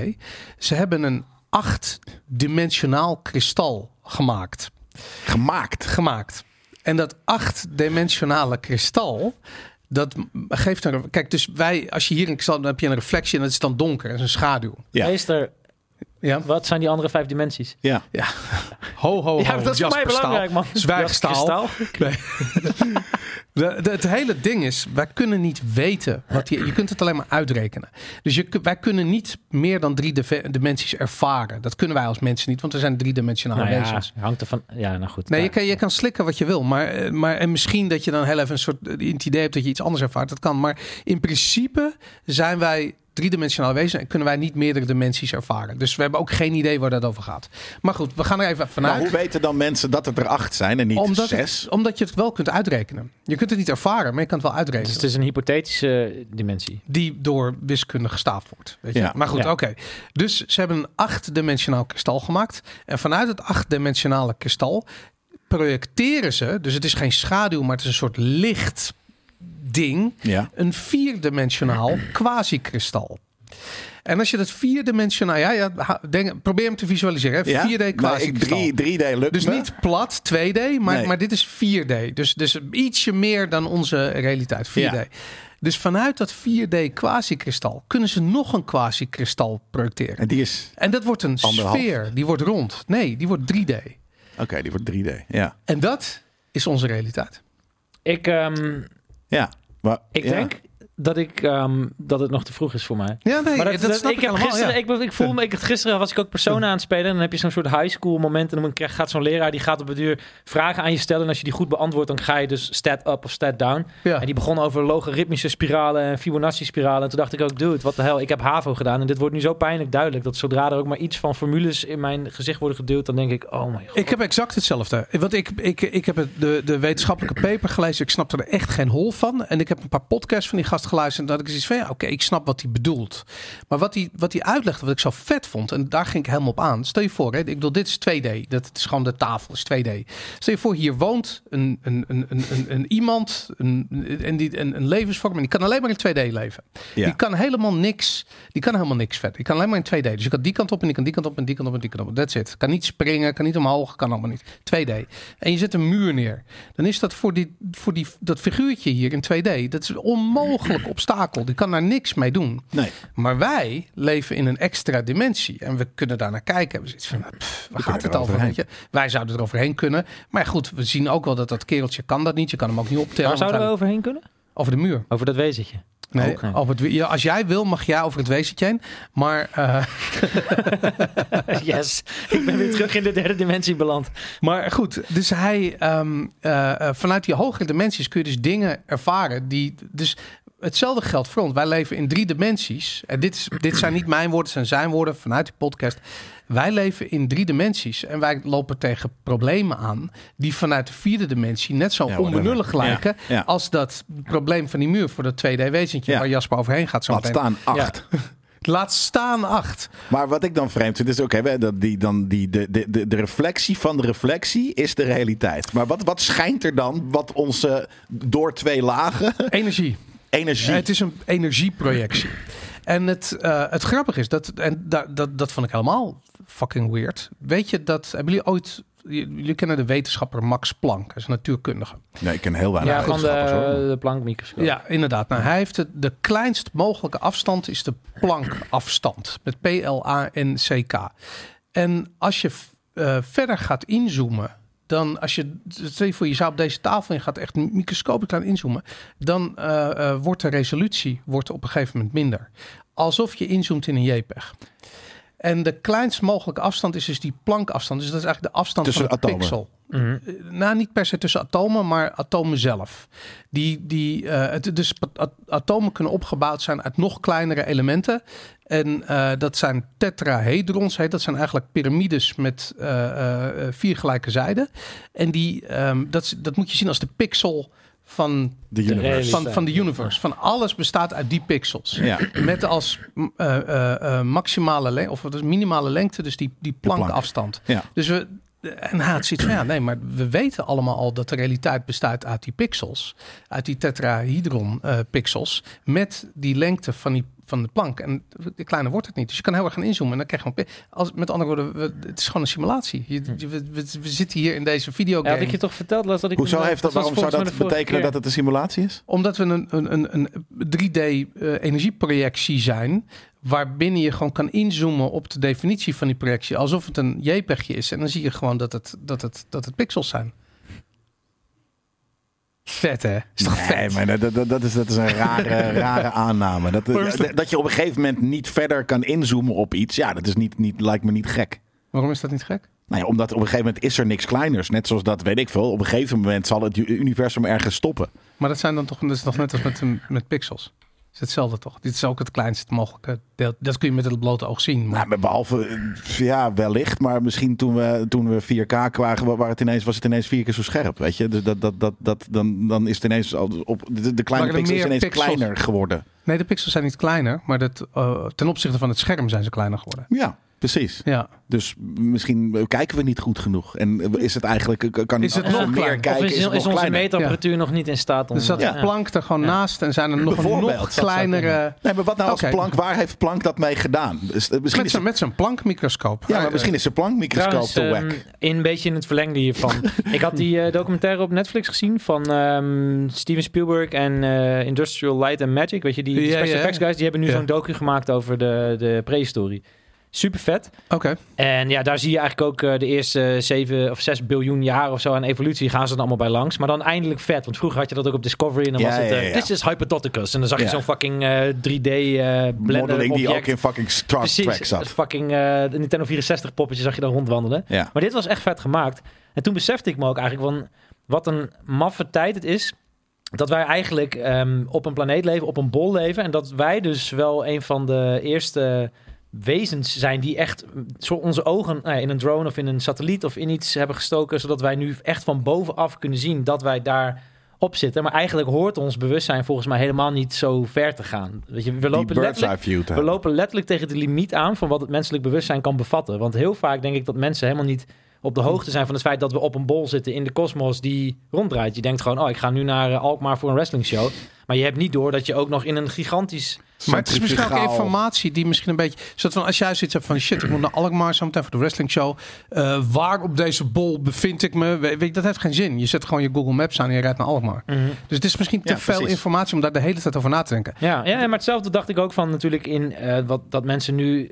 S1: Ze hebben een achtdimensionaal kristal gemaakt
S2: Gemaakt. Nou,
S1: gemaakt. En dat achtdimensionale kristal. Dat m- geeft een. Kijk, dus wij, als je hier een kristal. dan heb je een reflectie en dat is dan donker. Dat is een schaduw.
S2: Ja.
S3: Meester,
S1: Ja.
S3: wat zijn die andere vijf dimensies?
S2: Ja.
S1: Ho, ho, ho.
S3: ja, dat is voor mij
S1: Oh, Jasper Staal.
S3: belangrijk, man. Nou,
S1: Zwijgstaal.
S3: Jasper
S1: Nee. De- de- het hele ding is, wij kunnen niet weten. Wat je, je kunt het alleen maar uitrekenen. Dus je, kun- wij kunnen niet meer dan drie dive- dimensies ervaren. Dat kunnen wij als mensen niet, want we zijn driedimensionale
S3: Nou ja,
S1: wezens.
S3: hangt er van... Ja, nou goed.
S1: Nee, je
S3: Daar-
S1: kan, je kan slikken wat je wil. Maar, eh, maar en misschien dat je dan heel even een soort eh, het idee hebt dat je iets anders ervaart. Dat kan. Maar in principe zijn wij driedimensionaal wezen en kunnen wij niet meerdere dimensies ervaren. Dus we hebben ook geen idee waar dat over gaat. Maar goed, we gaan er even
S2: Maar
S1: vanuit.
S2: hoe weten dan mensen dat het er acht zijn en Nou, niet
S1: omdat,
S2: zes?
S1: het- omdat je het wel kunt uitrekenen. Je kunt het niet ervaren, maar je kan het wel
S3: Dus het
S1: uitrekenen.
S3: is een hypothetische eh, dimensie.
S1: Die door wiskunde gestaafd wordt. Weet je?
S2: Ja.
S1: Maar goed,
S3: Ja.
S1: oké. Dus ze hebben een achtdimensionaal kristal gemaakt. En vanuit het achtdimensionale kristal projecteren ze, dus het is geen schaduw, maar het is een soort licht ding,
S2: Ja.
S1: een vierdimensionaal quasi-kristal. En als je dat vierdimensionaal, ja, ja ha- denk, probeer hem te visualiseren. Hè?
S2: Ja?
S1: 4D
S2: Nou, ik-
S1: quasi-kristal.
S2: drie- 3D lukt
S1: dus
S2: me.
S1: niet plat 2D, maar,
S2: Nee.
S1: maar dit is 4D. Dus, dus ietsje meer dan onze realiteit, 4D.
S2: Ja.
S1: Dus vanuit dat 4D quasi-kristal kunnen ze nog een quasi-kristal projecteren.
S2: En die is...
S1: En dat wordt een
S2: Anderhalf.
S1: sfeer, die wordt rond. Nee, die wordt 3D.
S2: Oké, die wordt 3D. Ja.
S1: En dat is onze realiteit.
S3: Ik, ehm,
S2: Ja. Maar,
S3: ik
S2: ja.
S3: denk dat, ik, ehm, dat het nog te vroeg is voor mij.
S1: Ja, nee,
S3: Maar
S1: dat,
S3: dat,
S1: dat
S3: dat-
S1: snap ik,
S3: ik, heb
S1: helemaal.
S3: gisteren,
S1: ja.
S3: ik, ik voel me, ik, gisteren was ik ook personen aan het spelen. En dan heb je zo'n soort high school moment. En dan krijg- gaat zo'n leraar, die gaat op het duur vragen aan je stellen. En als je die goed beantwoordt, dan ga je dus stat up of stat down.
S1: Ja.
S3: En die begon over logaritmische spiralen en Fibonacci-spiralen. En toen dacht ik ook, dude, wat de hel, ik heb HAVO gedaan. En dit wordt nu zo pijnlijk duidelijk. Dat zodra er ook maar iets van formules in mijn gezicht worden geduwd, dan denk ik, oh mijn god.
S1: Ik heb exact hetzelfde. Want ik, ik, ik heb het- de, de wetenschappelijke paper gelezen. Ik snapte er echt geen hol van. En ik heb een paar podcasts van die gast geluisterd. En dat ik zoiets van, ja, oké, ik snap wat hij bedoelt. Maar wat hij, wat hij uitlegde, wat ik zo vet vond. En daar ging ik helemaal op aan. Stel je voor, hè, ik bedoel, dit is 2D. Dat is gewoon de tafel, is 2D. Stel je voor, hier woont een, een, een, een, een, een iemand. Een, en die, een, een levensvorm. En die kan alleen maar in 2D leven.
S2: Ja.
S1: Die kan helemaal niks. Die kan helemaal niks verder. Die kan alleen maar in 2D. Dus je kan die kant op en die kan die kant op en die kant op en die kant op. That's it. Kan niet springen, kan niet omhoog, kan allemaal niet. 2D. En je zet een muur neer. Dan is dat voor, die, voor die, dat figuurtje hier in 2D. Dat is onmogelijk. belachelijk obstakel. Die kan daar niks mee doen.
S2: Nee.
S1: Maar wij leven in een extra dimensie. En we kunnen daar naar kijken. We zitten van, nou, pff, waar gaat
S2: er
S1: het over?
S2: overheen.
S1: Weet je? Wij zouden er overheen kunnen. Maar ja, goed, we zien ook wel dat dat kereltje kan dat niet. Je kan hem ook niet optellen.
S3: Waar
S1: want
S3: zouden we
S1: hij-
S3: overheen kunnen?
S1: over de muur.
S3: Over dat wezentje.
S1: Nee,
S3: Oké.
S1: over het, we- ja, als jij wil, mag jij over het wezentje heen. Maar, eh,
S3: Yes, ik ben weer terug in de derde dimensie beland.
S1: maar goed, dus hij, ehm, eh, eh, vanuit die hogere dimensies kun je dus dingen ervaren die. Dus hetzelfde geldt voor ons. Wij leven in drie dimensies. En dit, is, dit zijn niet mijn woorden, het zijn zijn woorden vanuit die podcast. Wij leven in drie dimensies en wij lopen tegen problemen aan die vanuit de vierde dimensie net zo
S2: Ja, whatever.
S1: onbenullig lijken
S2: Ja, ja.
S1: als dat probleem van die muur voor dat 2D-wezentje
S2: Ja.
S1: waar Jasper overheen gaat zo
S2: Laat
S1: meteen.
S2: staan acht.
S1: Laat staan acht.
S2: Maar wat ik dan vreemd vind is, oké, we- dat die, dan die, de, de, de, de reflectie van de reflectie is de realiteit. Maar wat, wat schijnt er dan, wat onze door twee lagen
S1: Energie.
S2: energie...
S1: Ja, het is een energieprojectie. En het, eh, het grappige is, dat, en da- dat, dat vond ik helemaal fucking weird. Weet je dat, hebben jullie ooit, j- jullie kennen de wetenschapper Max Planck, hij is een natuurkundige.
S2: Nee, ik ken heel weinig
S3: Ja, van de,
S2: wetenschappers, nou, hoor.
S3: de plankmicroscoop.
S1: Ja, inderdaad. Nou, hij heeft de, de kleinst mogelijke afstand is de Planck-afstand. Met P-L-A-N-C-K. En als je v- eh, verder gaat inzoomen, dan als je, stel je voor je zou op deze tafel en je gaat echt microscopisch gaan inzoomen, dan eh, eh, wordt de resolutie wordt op een gegeven moment minder. Alsof je inzoomt in een JPEG. En de kleinst mogelijke afstand is dus die Planck-afstand. Dus dat is eigenlijk de afstand
S2: Tussen
S1: van een
S2: atomen.
S1: pixel.
S3: Mhm.
S1: Eh, nou, niet per se tussen atomen, maar atomen zelf. Die, die, eh, het, dus at- atomen kunnen opgebouwd zijn uit nog kleinere elementen. En eh, dat zijn tetrahedrons. Heet. Dat zijn eigenlijk piramides met eh, eh, vier gelijke zijden. En die, ehm, dat, is- dat moet je zien als de pixel van,
S2: De universe.
S1: van, van de universe. Van alles bestaat uit die pixels.
S2: Ja.
S1: Met als m, eh, eh, eh, maximale lengte, of wat is minimale lengte, dus die, die
S2: plank.
S1: plankafstand.
S2: Ja.
S1: Dus we, en hij had zoiets van, ja, nee, maar we weten allemaal al dat de realiteit bestaat uit die pixels. Uit die tetrahedron eh, pixels. Met die lengte van die van de plank. En de kleine wordt het niet. Dus je kan heel erg gaan inzoomen. En dan krijg je gewoon... pi- Als, met andere woorden, we- het is gewoon een simulatie. Je,
S2: Hm.
S1: je- we, we- we zitten hier in deze
S3: Ja,
S1: videogame.
S3: had ik je toch verteld laatst dat ik...
S2: Hoezo
S3: dat
S2: heeft dat,
S3: was
S2: waarom zou
S3: volgens mij
S2: dat
S3: de vorige
S2: betekenen
S3: keer.
S2: dat het een simulatie is?
S1: Omdat we een, een, een, een 3D-energieprojectie zijn. Waarbinnen je gewoon kan inzoomen op de definitie van die projectie. Alsof het een JPEGje is. En dan zie je gewoon dat het, dat het, dat het pixels zijn. Vet hè? Is toch
S2: Nee,
S1: vet?
S2: maar dat- dat, dat, dat, is, dat is een rare, rare aanname. Dat, eh,
S1: Waarom is dat-
S2: dat je op een gegeven moment niet verder kan inzoomen op iets, ja, dat is niet, niet, lijkt me niet gek.
S1: Waarom is dat niet gek?
S2: Nou ja, omdat op een gegeven moment is er niks kleiners. Net zoals dat, weet ik veel. Op een gegeven moment zal het u- universum ergens stoppen.
S1: Maar dat zijn dan toch, dat is toch net als met, eh, met pixels. Het is hetzelfde toch? Dit is ook het kleinste mogelijke deel. Dat kun je met het blote oog zien. Maar
S2: Nou, maar behalve, eh, ja, wellicht. Maar misschien toen we, toen we 4K kwamen, wa- waar het ineens, was het ineens vier keer zo scherp. Weet je? Dus dat, dat, dat, dat, dan, dan is het ineens al op, de, de kleine
S1: Waren er
S2: pixel is
S1: meer
S2: ineens
S1: pixels?
S2: kleiner geworden.
S1: nee, de pixels zijn niet kleiner. Maar dat, eh, ten opzichte van het scherm zijn ze kleiner geworden.
S2: Ja, precies.
S1: Ja.
S2: Dus misschien kijken we niet goed genoeg. En eh, is het eigenlijk, k- kan
S1: Is het
S2: als we
S1: nog
S2: meer
S1: kleiner?
S2: kijken,
S3: Of is,
S2: is het nog
S3: is onze
S2: kleiner.
S3: meetapparatuur nog niet in staat om...
S1: Dus dat
S2: Ja.
S1: plankt plank er gewoon naast en zijn er nog een
S2: Bijvoorbeeld,
S1: nog
S2: dat zou
S1: kleinere.
S2: Nee, maar wat nou als
S1: Oké.
S2: Planck, waar heeft Planck dat mee gedaan? Dus, eh, Misschien
S1: Met
S2: is
S1: zo'n,
S2: het,
S1: met zo'n plankmicroscoop.
S2: ja, maar
S1: Eh,
S2: misschien is de Planck-microscoop
S3: Trouwens,
S2: te
S3: ehm,
S2: wack.
S3: in een beetje in het verlengde hiervan. ik had die eh, documentaire op Netflix gezien van ehm, Steven Spielberg en eh, Industrial Light and Magic. Weet je, die, die
S1: Ja,
S3: special
S1: ja.
S3: effects guys, die hebben nu
S1: Ja.
S3: zo'n docu gemaakt over de, de prehistorie. Super vet.
S1: Oké.
S3: En ja, daar zie je eigenlijk ook eh, de eerste zeven of zes biljoen jaar of zo aan evolutie gaan ze dan allemaal bij langs. Maar dan eindelijk vet, want vroeger had je dat ook op Discovery en dan
S2: Ja,
S3: was het...
S2: ja,
S3: eh,
S2: ja.
S3: This is Hyperdoticus. En dan zag je
S2: Ja.
S3: zo'n fucking eh, 3D eh blender
S2: Modeling die ook
S3: object.
S2: in fucking Star Trek
S3: Precies,
S2: zat.
S3: het fucking eh, de Nintendo 64 poppetje zag je dan rondwandelen.
S2: Ja.
S3: Maar dit was echt vet gemaakt. En toen besefte ik me ook eigenlijk van wat een maffe tijd het is. Dat wij eigenlijk ehm, op een planeet leven, op een bol leven. En dat wij dus wel een van de eerste wezens zijn die echt mm, zo onze ogen nou ja, in een drone of in een satelliet of in iets hebben gestoken. Zodat wij nu echt van bovenaf kunnen zien dat wij daar op zitten. Maar eigenlijk hoort ons bewustzijn volgens mij helemaal niet zo ver te gaan. Weet je, we
S2: Die
S3: lopen
S2: bird's
S3: letterlijk
S2: eye view te
S3: we
S2: hebben.
S3: lopen letterlijk tegen de limiet aan van wat het menselijk bewustzijn kan bevatten. Want heel vaak denk ik dat mensen helemaal niet op de hoogte zijn van het feit dat we op een bol zitten in de kosmos die ronddraait. Je denkt gewoon, oh, ik ga nu naar eh, Alkmaar voor een wrestlingshow. Maar je hebt niet door dat je ook nog in een gigantisch...
S1: Maar het is misschien ook
S2: Centrifugaal.
S1: informatie die misschien een beetje... Zodat van, als jij zoiets hebt van... Shit, ik moet naar Alkmaar zometeen voor de wrestling show. Eh, waar op deze bol bevind ik me? We- weet je, dat heeft geen zin. Je zet gewoon je Google Maps aan en je rijdt naar Alkmaar.
S3: Mhm.
S1: Dus het is misschien te
S2: Ja,
S1: veel
S2: precies.
S1: informatie om daar de hele tijd over na te denken.
S3: Ja, ja, maar hetzelfde dacht ik ook van natuurlijk in eh, wat, dat mensen nu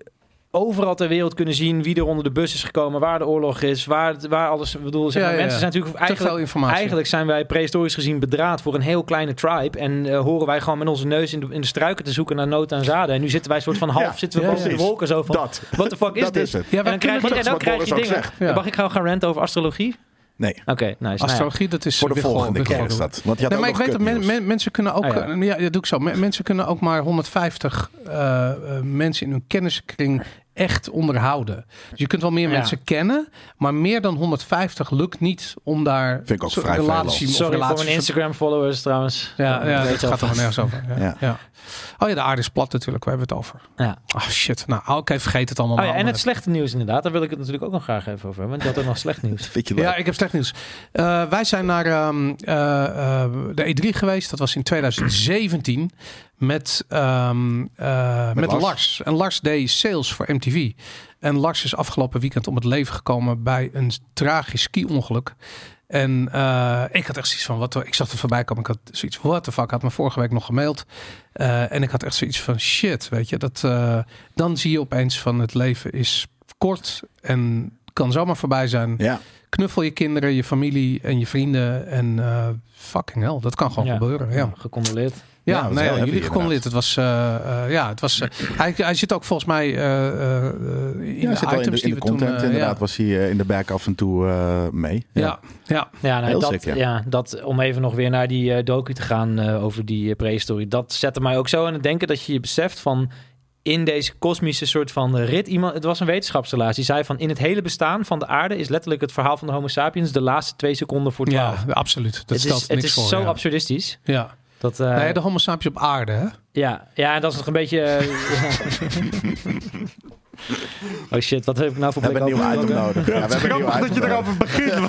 S3: overal ter wereld kunnen zien wie er onder de bus is gekomen, waar de oorlog is, waar, het- waar alles. Ik bedoel, zeg
S1: Ja,
S3: maar,
S1: ja, ja.
S3: mensen zijn natuurlijk
S1: te veel
S3: eigenlijk.
S1: informatie.
S3: Eigenlijk zijn wij prehistorisch gezien bedraad voor een heel kleine tribe. En eh, horen wij gewoon met onze neus in de, in de struiken te zoeken naar nood en zaden. En nu zitten wij soort van half
S2: Ja,
S3: zitten we
S1: ja,
S3: boven de
S2: precies.
S3: wolken zo van.
S2: Dat.
S3: What the fuck is
S2: Dat
S3: dit?
S2: is het.
S1: Ja,
S3: En dan krijg je,
S2: dat
S3: en
S2: is
S3: dan
S2: wat
S3: krijg
S2: Boris
S3: je
S2: ook
S3: dingen.
S2: zegt.
S1: Ja.
S3: Mag ik gewoon gaan ranten over astrologie?
S2: Nee,
S3: Oké, nice. nou ja.
S1: Astrologie, dat is
S2: voor de
S1: weer gewoon-
S2: volgende
S1: weer
S2: keer
S1: gewoon-
S2: is dat. Want je had
S1: Nee, maar
S2: ook
S1: ik weet dat
S2: nog
S1: men-
S2: kutnieuws.
S1: men- mensen kunnen ook.
S3: Ah, ja.
S1: eh, ja. dat doe ik zo. Men- mensen kunnen ook maar 150 eh, eh, mensen in hun kenniskring echt onderhouden. Dus je kunt wel meer
S3: Ja.
S1: mensen kennen, maar meer dan 150 lukt niet om daar
S2: Vind ik ook
S1: zo-
S2: vrij
S1: relatie of
S3: Sorry voor
S1: relaties-
S3: mijn Instagram-followers trouwens.
S1: Ja, ja
S3: Weet
S1: dat
S3: je
S1: gaat er
S3: wel.
S1: wel nergens over. Ja.
S2: Ja.
S1: Ja. Oh ja, de aarde is plat natuurlijk. Waar hebben we het over?
S3: Ja.
S1: Ah shit. Nou, oké, vergeet het allemaal.
S3: Oh ja,
S1: maar
S3: en het
S1: allemaal.
S3: slechte nieuws inderdaad. Daar wil ik het natuurlijk ook nog graag even over hebben. Want je had ook nog slecht nieuws.
S2: Vind je leuk?
S1: Ja, ik heb slecht nieuws. Eh, wij zijn naar ehm, eh, eh, de E3 geweest. Dat was in 2017 met, ehm, eh, met,
S2: Lars.
S1: Lars. En Lars deed sales voor MTV. En Lars is afgelopen weekend om het leven gekomen bij een tragisch ski-ongeluk. En eh, ik had echt zoiets van, wat, de- ik zag het voorbij komen. Ik had zoiets, what the fuck, had me vorige week nog gemaild. Eh, en ik had echt zoiets van, shit, weet je. Dat, eh, dan zie je opeens van, het leven is kort en kan zomaar voorbij zijn
S2: Ja.
S1: knuffel je kinderen, je familie en je vrienden. En eh, fucking hell, dat kan gewoon
S3: Ja.
S1: gebeuren. Ja, ja,
S3: Gecondoleerd.
S2: dat is
S1: nou
S2: heel
S1: ja
S2: heavy
S1: jullie gecondoleerd. Het was, eh, eh, ja, het was, eh, hij, hij zit ook volgens mij eh, eh, eh, in
S2: Ja,
S1: de
S2: hij zit al in de,
S1: items
S2: in
S1: die
S2: de
S1: we
S2: content
S1: toen... eh,
S2: inderdaad.
S1: ja.
S2: Was hij eh, in de back af en toe eh, mee.
S1: Ja, ja,
S3: Ja, nou,
S2: Heel
S3: dat,
S2: sick, ja.
S3: ja. dat, om even nog weer naar die eh, docu te gaan eh, over die eh, prehistorie. Dat zette mij ook zo aan het denken dat je je beseft van in deze kosmische soort van rit. Iemand, het was een wetenschapsrelatie. Die zei van in het hele bestaan van de aarde is letterlijk het verhaal van de homo sapiens de laatste twee seconden voor twaalf.
S1: ja, absoluut. Dat
S3: het
S1: stelt
S3: is,
S1: niks
S3: het is
S1: voor. ja.
S3: zo
S1: Nou
S3: absurdistisch.
S1: Ja.
S3: Dat, eh,
S1: Nee, de homo sapiens op aarde, hè?
S3: Ja, ja, en dat is nog een beetje. eh, oh shit, wat heb ik nou voor
S2: We hebben een
S3: blik
S2: nieuw item
S3: open?
S2: nodig. Ja, we hebben een nieuw item nodig.
S5: begint.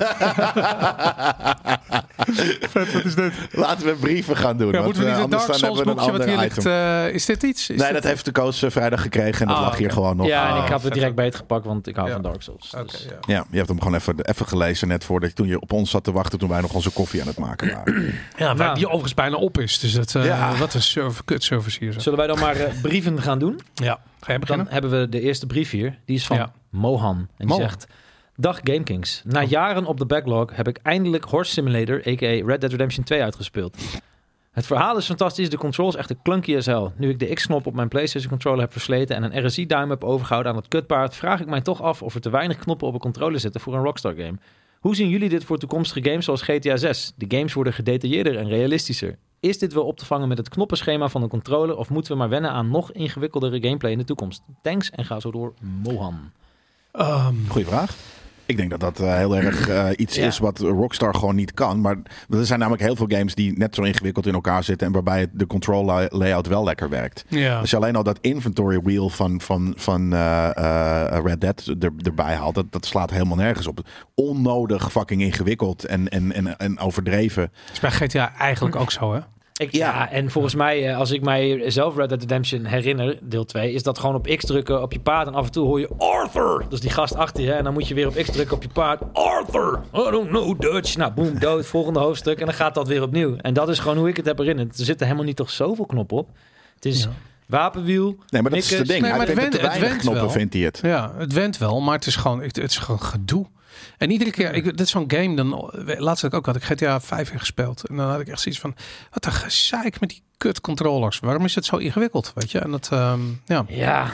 S2: Laten we brieven gaan doen.
S1: Ja,
S2: want,
S1: moeten we
S2: eh,
S1: niet het
S2: anders
S1: Dark
S2: dan
S1: Souls
S2: hebben we
S1: boekje
S2: een
S1: wat
S2: ander
S1: hier
S2: item.
S1: ligt? eh, is dit iets? Is
S2: nee,
S1: dit-
S2: dat heeft de coach eh, vrijdag gekregen en dat
S1: Ah,
S2: lag hier
S1: oké.
S2: gewoon nog.
S3: Ja, en
S2: Ah.
S3: ik had het direct
S1: vet.
S3: beetgepakt, want ik hou
S1: Ja.
S3: van Dark Souls. Dus.
S1: Oké, ja.
S2: Ja, je hebt hem gewoon even, even gelezen net voordat toen je op ons zat te wachten toen wij nog onze koffie aan het maken waren.
S1: Ja, maar
S3: Nou.
S1: die overigens bijna op is. Dus dat, eh,
S2: Ja.
S1: wat een server, kut service hier. zo.
S3: Zullen wij dan maar eh, brieven gaan doen?
S1: Ja, ga je
S3: Dan
S1: beginnen?
S3: hebben we de eerste brief hier. Die is van
S1: Ja.
S3: Mohan. En die
S1: Mohan.
S3: zegt... Dag GameKings. Na jaren op de backlog heb ik eindelijk Horse Simulator, a.k.a. Red Dead Redemption 2, uitgespeeld. Het verhaal is fantastisch, de controls echt een clunky as hell. Nu ik de X-knop op mijn PlayStation controller heb versleten en een RSI-duim heb overgehouden aan het kutpaard, vraag ik mij toch af of er te weinig knoppen op een controller zitten voor een Rockstar game. Hoe zien jullie dit voor toekomstige games zoals GTA 6? De games worden gedetailleerder en realistischer. Is dit wel op te vangen met het knoppenschema van een controller of moeten we maar wennen aan nog ingewikkeldere gameplay in de toekomst? Thanks en ga zo door, Mohan.
S1: Ehm,
S2: Goeie vraag. Ik denk dat dat eh, heel erg eh, iets
S3: Ja.
S2: is wat Rockstar gewoon niet kan. Maar er zijn namelijk heel veel games die net zo ingewikkeld in elkaar zitten en waarbij het- de control lay- layout wel lekker werkt.
S1: ja.
S2: Als je alleen al dat inventory wheel van, van, van eh, eh, Red Dead er, erbij haalt, dat, dat slaat helemaal nergens op. Onnodig fucking ingewikkeld en, en, en, en overdreven.
S1: is bij GTA eigenlijk ook zo, hè?
S3: Ik,
S2: Ja.
S3: ja. en volgens mij, eh, als ik mij zelf Red Dead Redemption herinner, deel 2, is dat gewoon op X drukken op je paard. En af en toe hoor je Arthur. Dat is die gast achter je. hè. En dan moet je weer op X drukken op je paard. Arthur! I don't know Dutch. Nou, boom, dood. Volgende hoofdstuk. En dan gaat dat weer opnieuw. En dat is gewoon hoe ik het heb herinnerd. Er zitten helemaal niet toch zoveel knoppen op. Het is
S1: Ja.
S3: wapenwiel.
S2: Nee, maar dat is het ding.
S3: knikkers.
S1: Nee,
S2: Hij
S1: maar het
S2: vindt het te
S1: went- het
S2: weinig
S1: went
S2: knoppen,
S1: wel.
S2: vindt hij het.
S1: Ja, het went wel, maar het is gewoon, het, het is gewoon gedoe. En iedere keer, ik, dit is zo'n game, dan, laatst had ik ook, had ik GTA 5 in gespeeld. En dan had ik echt zoiets van, wat een gezeik met die kut controllers. Waarom is het zo ingewikkeld, weet je? En dat, ehm, ja.
S3: Ja,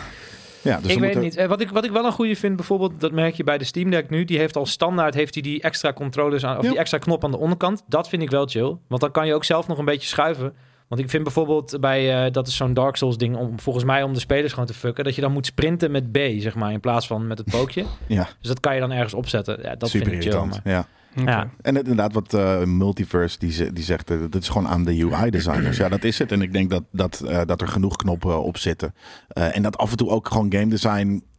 S2: Ja, dus we
S3: ik weet
S2: moeten-
S3: niet. Eh, Wat ik, wat ik wel een goede vind, bijvoorbeeld, dat merk je bij de Steam Deck nu. Die heeft al standaard heeft die, die extra controllers aan, of
S2: Ja.
S3: die extra knop aan de onderkant. Dat vind ik wel chill. Want dan kan je ook zelf nog een beetje schuiven. Want ik vind bijvoorbeeld bij, eh, dat is zo'n Dark Souls ding, om, volgens mij om de spelers gewoon te fucken, dat je dan moet sprinten met B, zeg maar, in plaats van met het pookje.
S2: Ja,
S3: dus dat kan je dan ergens opzetten. Ja, dat
S2: super
S3: vind ik chill.
S2: irritant.
S3: maar-
S2: Ja.
S3: Ja.
S2: En het- inderdaad, wat eh, Multiverse die, ze- die zegt, eh, dat is gewoon aan de UI-designers. Ja, dat is het. En ik denk dat, Eh, dat, eh, dat er genoeg knoppen op zitten. Eh, en dat af en toe ook gewoon game design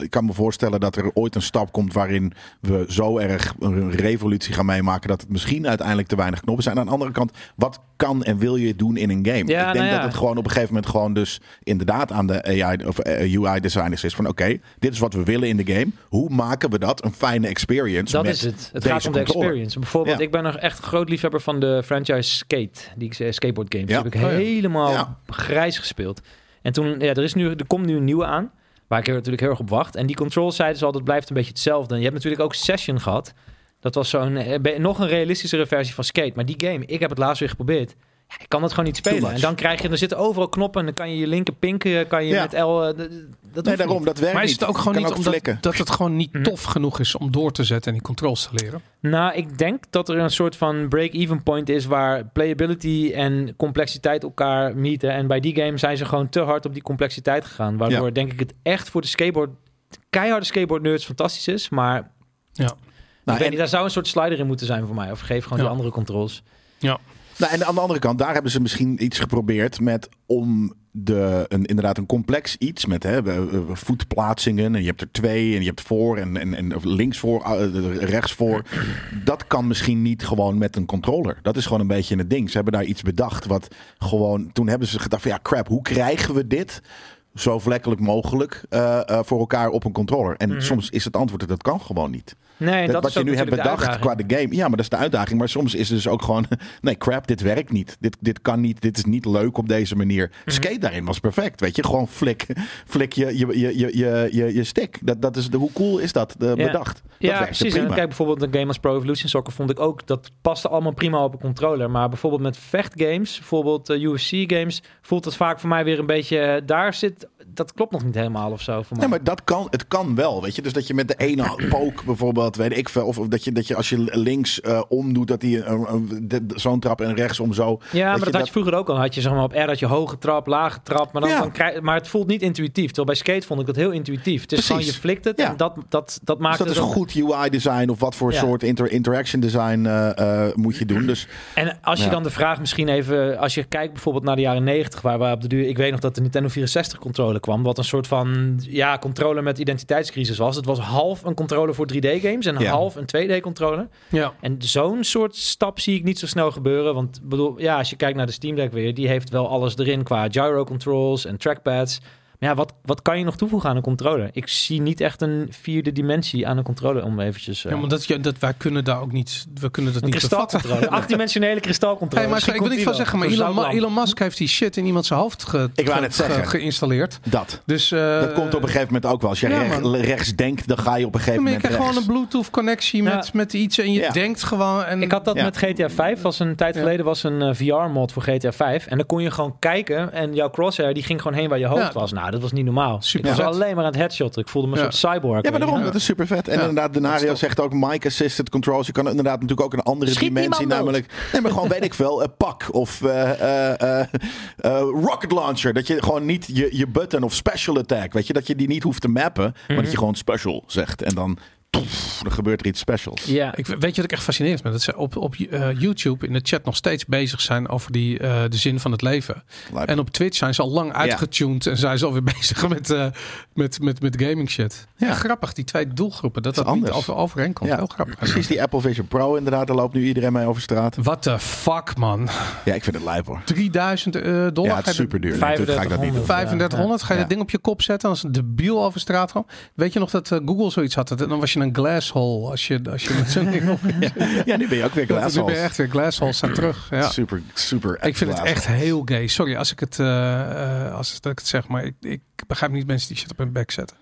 S2: ik kan me voorstellen dat er ooit een stap komt waarin we zo erg een revolutie gaan meemaken dat het misschien uiteindelijk te weinig knoppen zijn. Aan de andere kant, wat kan en wil je doen in een game?
S3: Ja,
S2: ik denk
S3: nou ja.
S2: dat het gewoon op een gegeven moment gewoon dus inderdaad aan de AI of eh, UI designers is van oké, dit is wat we willen in de game. Hoe maken we dat een fijne experience?
S3: Dat
S2: met
S3: is het. Het
S2: deze
S3: gaat om de
S2: controller?
S3: experience. Bijvoorbeeld,
S2: Ja.
S3: ik ben nog echt groot liefhebber van de franchise Skate, die eh, skateboard games.
S2: Ja.
S3: Die heb
S1: Oh
S3: ik
S1: ja.
S3: helemaal
S2: Ja.
S3: grijs gespeeld. En toen, ja, er, is nu, er komt nu een nieuwe aan, waar ik er natuurlijk heel erg op wacht. En die controls zeiden ze al, dat blijft een beetje hetzelfde. En je hebt natuurlijk ook Session gehad. Dat was zo'n, eh, be- nog een realistischere versie van Skate. Maar die game, ik heb het laatst weer geprobeerd. Ja, ik kan dat gewoon niet spelen.
S2: much.
S3: En dan krijg je, er zitten overal knoppen en dan kan je je linker pinken, kan je
S2: Ja.
S3: met L... eh, d- d- dat hoeft
S2: Nee,
S3: niet.
S2: daarom, dat werkt
S1: Maar is
S2: niet.
S1: het ook gewoon
S2: Kan
S1: niet omdat
S2: flikken.
S1: dat het gewoon
S3: Hm.
S1: niet tof genoeg is om door te zetten en die controls te leren?
S3: Nou, ik denk dat er een soort van break-even point is waar playability en complexiteit elkaar meeten. En bij die game zijn ze gewoon te hard op die complexiteit gegaan. Waardoor denk ik het echt voor de skateboard, keiharde skateboard nerds fantastisch is. Maar ik
S1: Ja.
S2: Nou,
S3: weet
S2: en-
S3: niet, daar zou een soort slider in moeten zijn voor mij. Of geef gewoon
S1: Ja.
S3: die andere controls.
S2: Nou, en aan de andere kant, daar hebben ze misschien iets geprobeerd met om de, een, inderdaad een complex iets met hè, eh, eh, voetplaatsingen. En je hebt er twee en je hebt voor en, en, en of links voor, eh, eh, rechts voor. Dat kan misschien niet gewoon met een controller. Dat is gewoon een beetje het ding. Ze hebben daar iets bedacht wat gewoon... Toen hebben ze gedacht van ja crap, hoe krijgen we dit zo vlekkelijk mogelijk eh, eh, voor elkaar op een controller? En soms is het antwoord dat dat kan gewoon niet.
S3: Nee, dat,
S2: Dat,
S3: is
S2: wat
S3: ook
S2: je nu hebt
S3: natuurlijk de
S2: bedacht
S3: uitdaging.
S2: qua de game. Ja, maar dat is de uitdaging. Maar soms is het dus ook gewoon... Nee, crap, dit werkt niet. Dit, dit kan niet. Dit is niet leuk op deze manier.
S3: Mhm.
S2: Skate daarin was perfect, weet je. Gewoon flik, flik je, je, je, je, je, je, je stick. Dat, dat is de, hoe cool is dat eh, bedacht? Dat
S3: ja,
S2: werkte
S3: precies. En
S2: prima.
S3: kijk, bijvoorbeeld een game als Pro Evolution Soccer vond ik ook... dat paste allemaal prima op een controller. Maar bijvoorbeeld met vechtgames, bijvoorbeeld eh, UFC-games... voelt dat vaak voor mij weer een beetje... eh, daar zit... Dat klopt nog niet helemaal of zo voor mij.
S2: Nee, maar dat kan, het kan wel, weet je. Dus dat je met de ene pook bijvoorbeeld, weet ik veel... of of dat je, dat je als je links eh, omdoet, dat die eh, eh, de- de- zo'n trap en rechts om zo...
S3: Ja, maar
S2: je
S3: dat, had
S2: dat-
S3: je vroeger ook al. Had je zeg maar, op R had je hoge trap, lage trap. Maar, dan,
S2: Ja.
S3: dan krijg, maar het voelt niet intuïtief. Terwijl bij skate vond ik dat heel intuïtief. Het is
S2: Precies.
S3: gewoon, je flikt het
S2: Ja.
S3: en dat, dat, dat maakt
S2: Dus dat
S3: het
S2: is
S3: ook-
S2: goed UI-design of wat voor
S3: Ja.
S2: soort inter- interaction design eh, eh, moet je doen. Dus
S3: En als je
S2: Ja.
S3: dan de vraag misschien even... Als je kijkt bijvoorbeeld naar de jaren 90, waar we op de duur... Ik weet nog dat de Nintendo 64 controller kwam. Wat een soort van ja, controller met identiteitscrisis was. Het was half een controller voor 3D-games en
S2: Ja.
S3: half een 2D-controller.
S1: Ja.
S3: En zo'n soort stap zie ik niet zo snel gebeuren. Want bedoel, ja, als je kijkt naar de Steam Deck weer, die heeft wel alles erin qua gyro controls en trackpads. Maar ja, wat, wat kan je nog toevoegen aan een controller? Ik zie niet echt een vierde dimensie aan een controller om eventjes... eh,
S1: Ja, maar dat, ja, dat, wij kunnen daar ook niet, we kunnen dat
S3: een
S1: niet bevatten.
S3: kristalcontroller. Achtdimensionele
S1: Hey,
S3: kristalcontroller.
S1: maar
S3: Misschien
S1: ik wil
S3: komt
S1: niet
S3: die
S1: van zeggen,
S3: wel.
S1: maar
S3: Zo'n
S1: Elon, Ma-
S3: zoutlamp.
S1: Elon Musk heeft die shit in iemands hoofd ge-
S2: Ik wou net
S1: ge-
S2: zeggen.
S1: geïnstalleerd.
S2: dat.
S1: Dus, eh,
S2: Dat komt op een gegeven moment ook wel. Als je
S1: ja,
S2: reg-
S1: man.
S2: rechts denkt, dan ga je op een gegeven
S1: Maar je
S2: moment
S1: krijgt
S2: rechts.
S1: gewoon een Bluetooth-connectie
S3: Ja.
S1: met, met iets en je
S2: Ja.
S1: denkt gewoon. En,
S3: Ik had dat
S2: Ja.
S3: met GTA 5. Was een tijd
S1: Ja.
S3: geleden was een VR-mod voor GTA 5. En dan kon je gewoon kijken. En jouw crosshair die ging gewoon heen waar je hoofd
S1: Ja.
S3: was. Nou, dat was niet normaal.
S1: Super
S3: ik was
S1: vet.
S3: alleen maar aan het headshotten. Ik voelde me een
S1: Ja.
S3: soort cyborg.
S2: ja, maar
S3: weet je.
S2: daarom, dat is super vet. En
S1: Ja.
S2: inderdaad, Denario zegt ook mic assisted controls. Je kan inderdaad natuurlijk ook een andere
S4: Schiet die
S2: dimensie,
S4: man dood.
S2: namelijk. Nee, maar gewoon weet ik veel, eh, pak of eh, eh, eh, eh, rocket launcher. Dat je gewoon niet je, je button of special attack, weet je, dat je die niet hoeft te mappen,
S1: Mhm.
S2: maar dat je gewoon special zegt. En dan, toef, dan gebeurt er iets specials.
S3: Ja,
S1: Ik, weet je wat ik echt fascinerend vind? Dat ze op, op eh, YouTube in de chat nog steeds bezig zijn over die, eh, de zin van het leven.
S2: Lijp.
S1: En op Twitch zijn ze al lang uitgetuned en zijn ze alweer bezig met, eh, met, met, met gaming shit. Ja.
S2: Ja.
S1: grappig, die twee doelgroepen, dat
S2: is
S1: dat niet
S2: anders.
S1: over, overeenkomt.
S2: Ja.
S1: Heel grappig.
S2: Precies die Apple Vision Pro inderdaad, daar loopt nu iedereen mee over straat.
S1: What the fuck, man.
S2: Ja, ik vind het lijp hoor.
S1: 3000 eh, dollar.
S2: Ja, het is
S1: Ga je
S2: super duur. Natuurlijk ga ik dat niet doen.
S1: 3500, ga je
S2: Ja.
S1: dat ding op je kop zetten als een debiel over straat gaan. Weet je nog dat eh, Google zoiets had? Dat- Dan was je een glasshole als je, als je met zo'n ding op.
S2: Ja, nu ben je ook weer
S1: Dat nu ben je
S2: glassholes.
S1: echt weer glassholes zijn terug. Ja.
S2: Super, super.
S1: Ik vind het
S2: glassholes.
S1: echt heel gay. Sorry als ik het, eh, eh, als dat ik het zeg, maar ik, ik begrijp niet mensen die shit op hun bek zetten.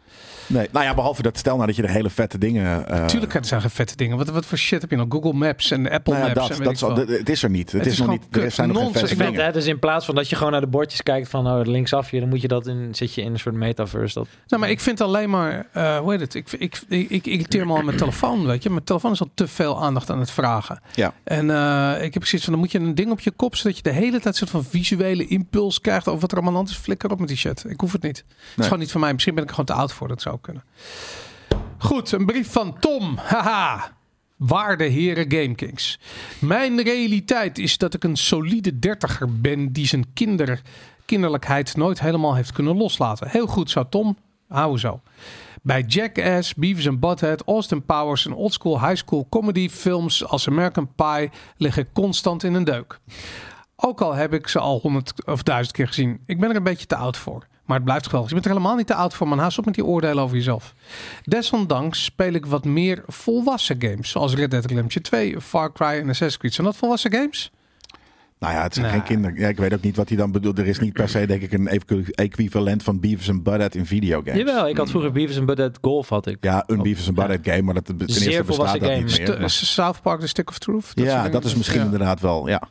S2: Nee, nou ja, behalve dat stel nou dat je er hele vette dingen. eh,
S1: Tuurlijk het zijn geen vette dingen. Wat, wat voor shit heb je nog? Google Maps en Apple
S2: nou ja,
S1: Maps.
S2: dat,
S1: en
S2: dat is,
S1: weet
S2: al-
S1: ik veel.
S2: d- het is er niet. Het,
S1: Het
S2: is,
S1: is
S2: nog
S1: gewoon
S2: niet. Er
S1: kut,
S2: zijn nog geen
S1: nonsens.
S2: vette
S1: Ik
S3: Vet,
S2: dingen.
S3: hè? Dus in plaats van dat je gewoon naar de bordjes kijkt van oh, linksaf hier, dan moet je dat in, zit je in een soort metaverse. Dat,
S1: Nou, maar ik vind alleen maar, eh, hoe heet het? Ik, ik, ik, ik irriteer me al aan mijn telefoon, weet je. Mijn telefoon is al te veel aandacht aan het vragen.
S2: Ja.
S1: En eh, ik heb precies van, dan moet je een ding op je kop, zodat je de hele tijd een soort van visuele impuls krijgt over wat er allemaal aan de hand is. Flikker op met die shit. Ik hoef het niet. Het is
S2: Nee.
S1: gewoon niet van mij. Misschien ben ik er gewoon te oud voor. Dat zou ook kunnen. Goed, een brief van Tom. Haha. Waarde heren Gamekings. Mijn realiteit is dat ik een solide dertiger ben die zijn kinder, kinderlijkheid nooit helemaal heeft kunnen loslaten. Heel goed zo, Tom. Hou zo. Bij Jackass, Beavis and Butthead, Austin Powers en oldschool high school comedy films als American Pie liggen constant in een deuk. Ook al heb ik ze al honderd of duizend keer gezien. Ik ben er een beetje te oud voor. Maar het blijft geweldig. Je bent er helemaal niet te oud voor, man. Haast op met die oordelen over jezelf. Desondanks speel ik wat meer volwassen games. Zoals Red Dead Redemption 2, Far Cry en Assassin's Creed. Zijn dat volwassen games?
S2: Nou ja, het zijn
S1: Nou.
S2: geen kinderen. Ja, ik weet ook niet wat hij dan bedoelt. Er is niet per se, denk ik, een equ- equivalent van Beavis and Butthead in videogames.
S3: Jawel, ik had vroeger Beavis en Butthead Golf had ik.
S2: Ja, een Beavis and Butthead game, maar dat ten eerste bestaat
S3: volwassen
S2: dat
S3: game.
S2: niet meer.
S1: T-
S2: maar-
S1: South Park, The Stick of Truth? soort
S2: ja,
S1: dingen.
S2: dat is misschien
S1: Ja.
S2: inderdaad wel, ja.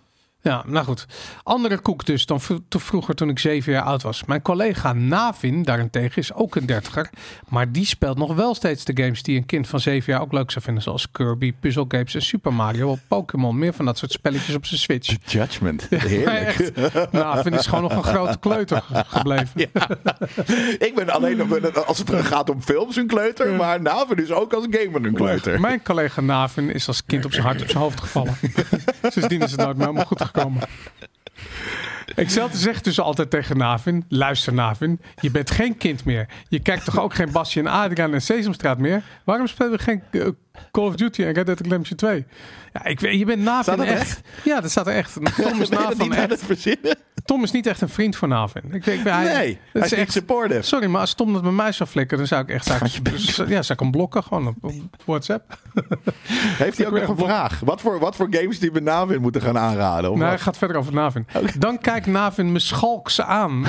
S1: Ja, nou goed. Andere koek dus dan v- te vroeger toen ik zeven jaar oud was. Mijn collega Navin daarentegen is ook een dertiger. Maar die speelt nog wel steeds de games die een kind van zeven jaar ook leuk zou vinden. Zoals Kirby, puzzelgames en Super Mario, Pokémon. Meer van dat soort spelletjes op zijn Switch.
S2: The Judgment.
S1: Maar
S2: Heerlijk.
S1: echt, Navin is gewoon nog een grote kleuter ge- gebleven.
S2: ik ben alleen op, als het gaat om films een kleuter, maar Naven is ook als gamer een kleuter.
S1: Mijn collega Navin is als kind op zijn hart op zijn hoofd gevallen. Sindsdien is het nooit meer helemaal goed gekomen. Ikzelf zeg dus altijd tegen Navin: luister, Navin, je bent geen kind meer. Je kijkt toch ook geen Basje en Adriaan en Sesamstraat meer? Waarom spelen we geen eh, Call of Duty en Red Dead Redemption 2? Ja, ik weet, je bent Navin
S2: Staat dat
S1: echt.
S2: echt?
S1: Ja, dat staat er echt. Tom is,
S2: Ben je dat
S1: Navin
S2: niet aan
S1: echt.
S2: het verzinnen?
S1: Tom is niet echt een vriend van Navin. Ik, ik ben,
S2: Nee,
S1: hij,
S2: hij is
S1: het is
S2: echt
S1: echt.
S2: supportive.
S1: Sorry, maar als Tom dat bij mij zou flikken, dan zou ik echt. Zou ik, ja, zou ik hem blokken gewoon op, op WhatsApp.
S2: Heeft hij ook nog een vraag? Wat voor, wat voor games die we Navin moeten gaan aanraden? Of
S1: Nee, hij
S2: wat?
S1: gaat verder over Navin. Dan kijkt Navin me schalks aan.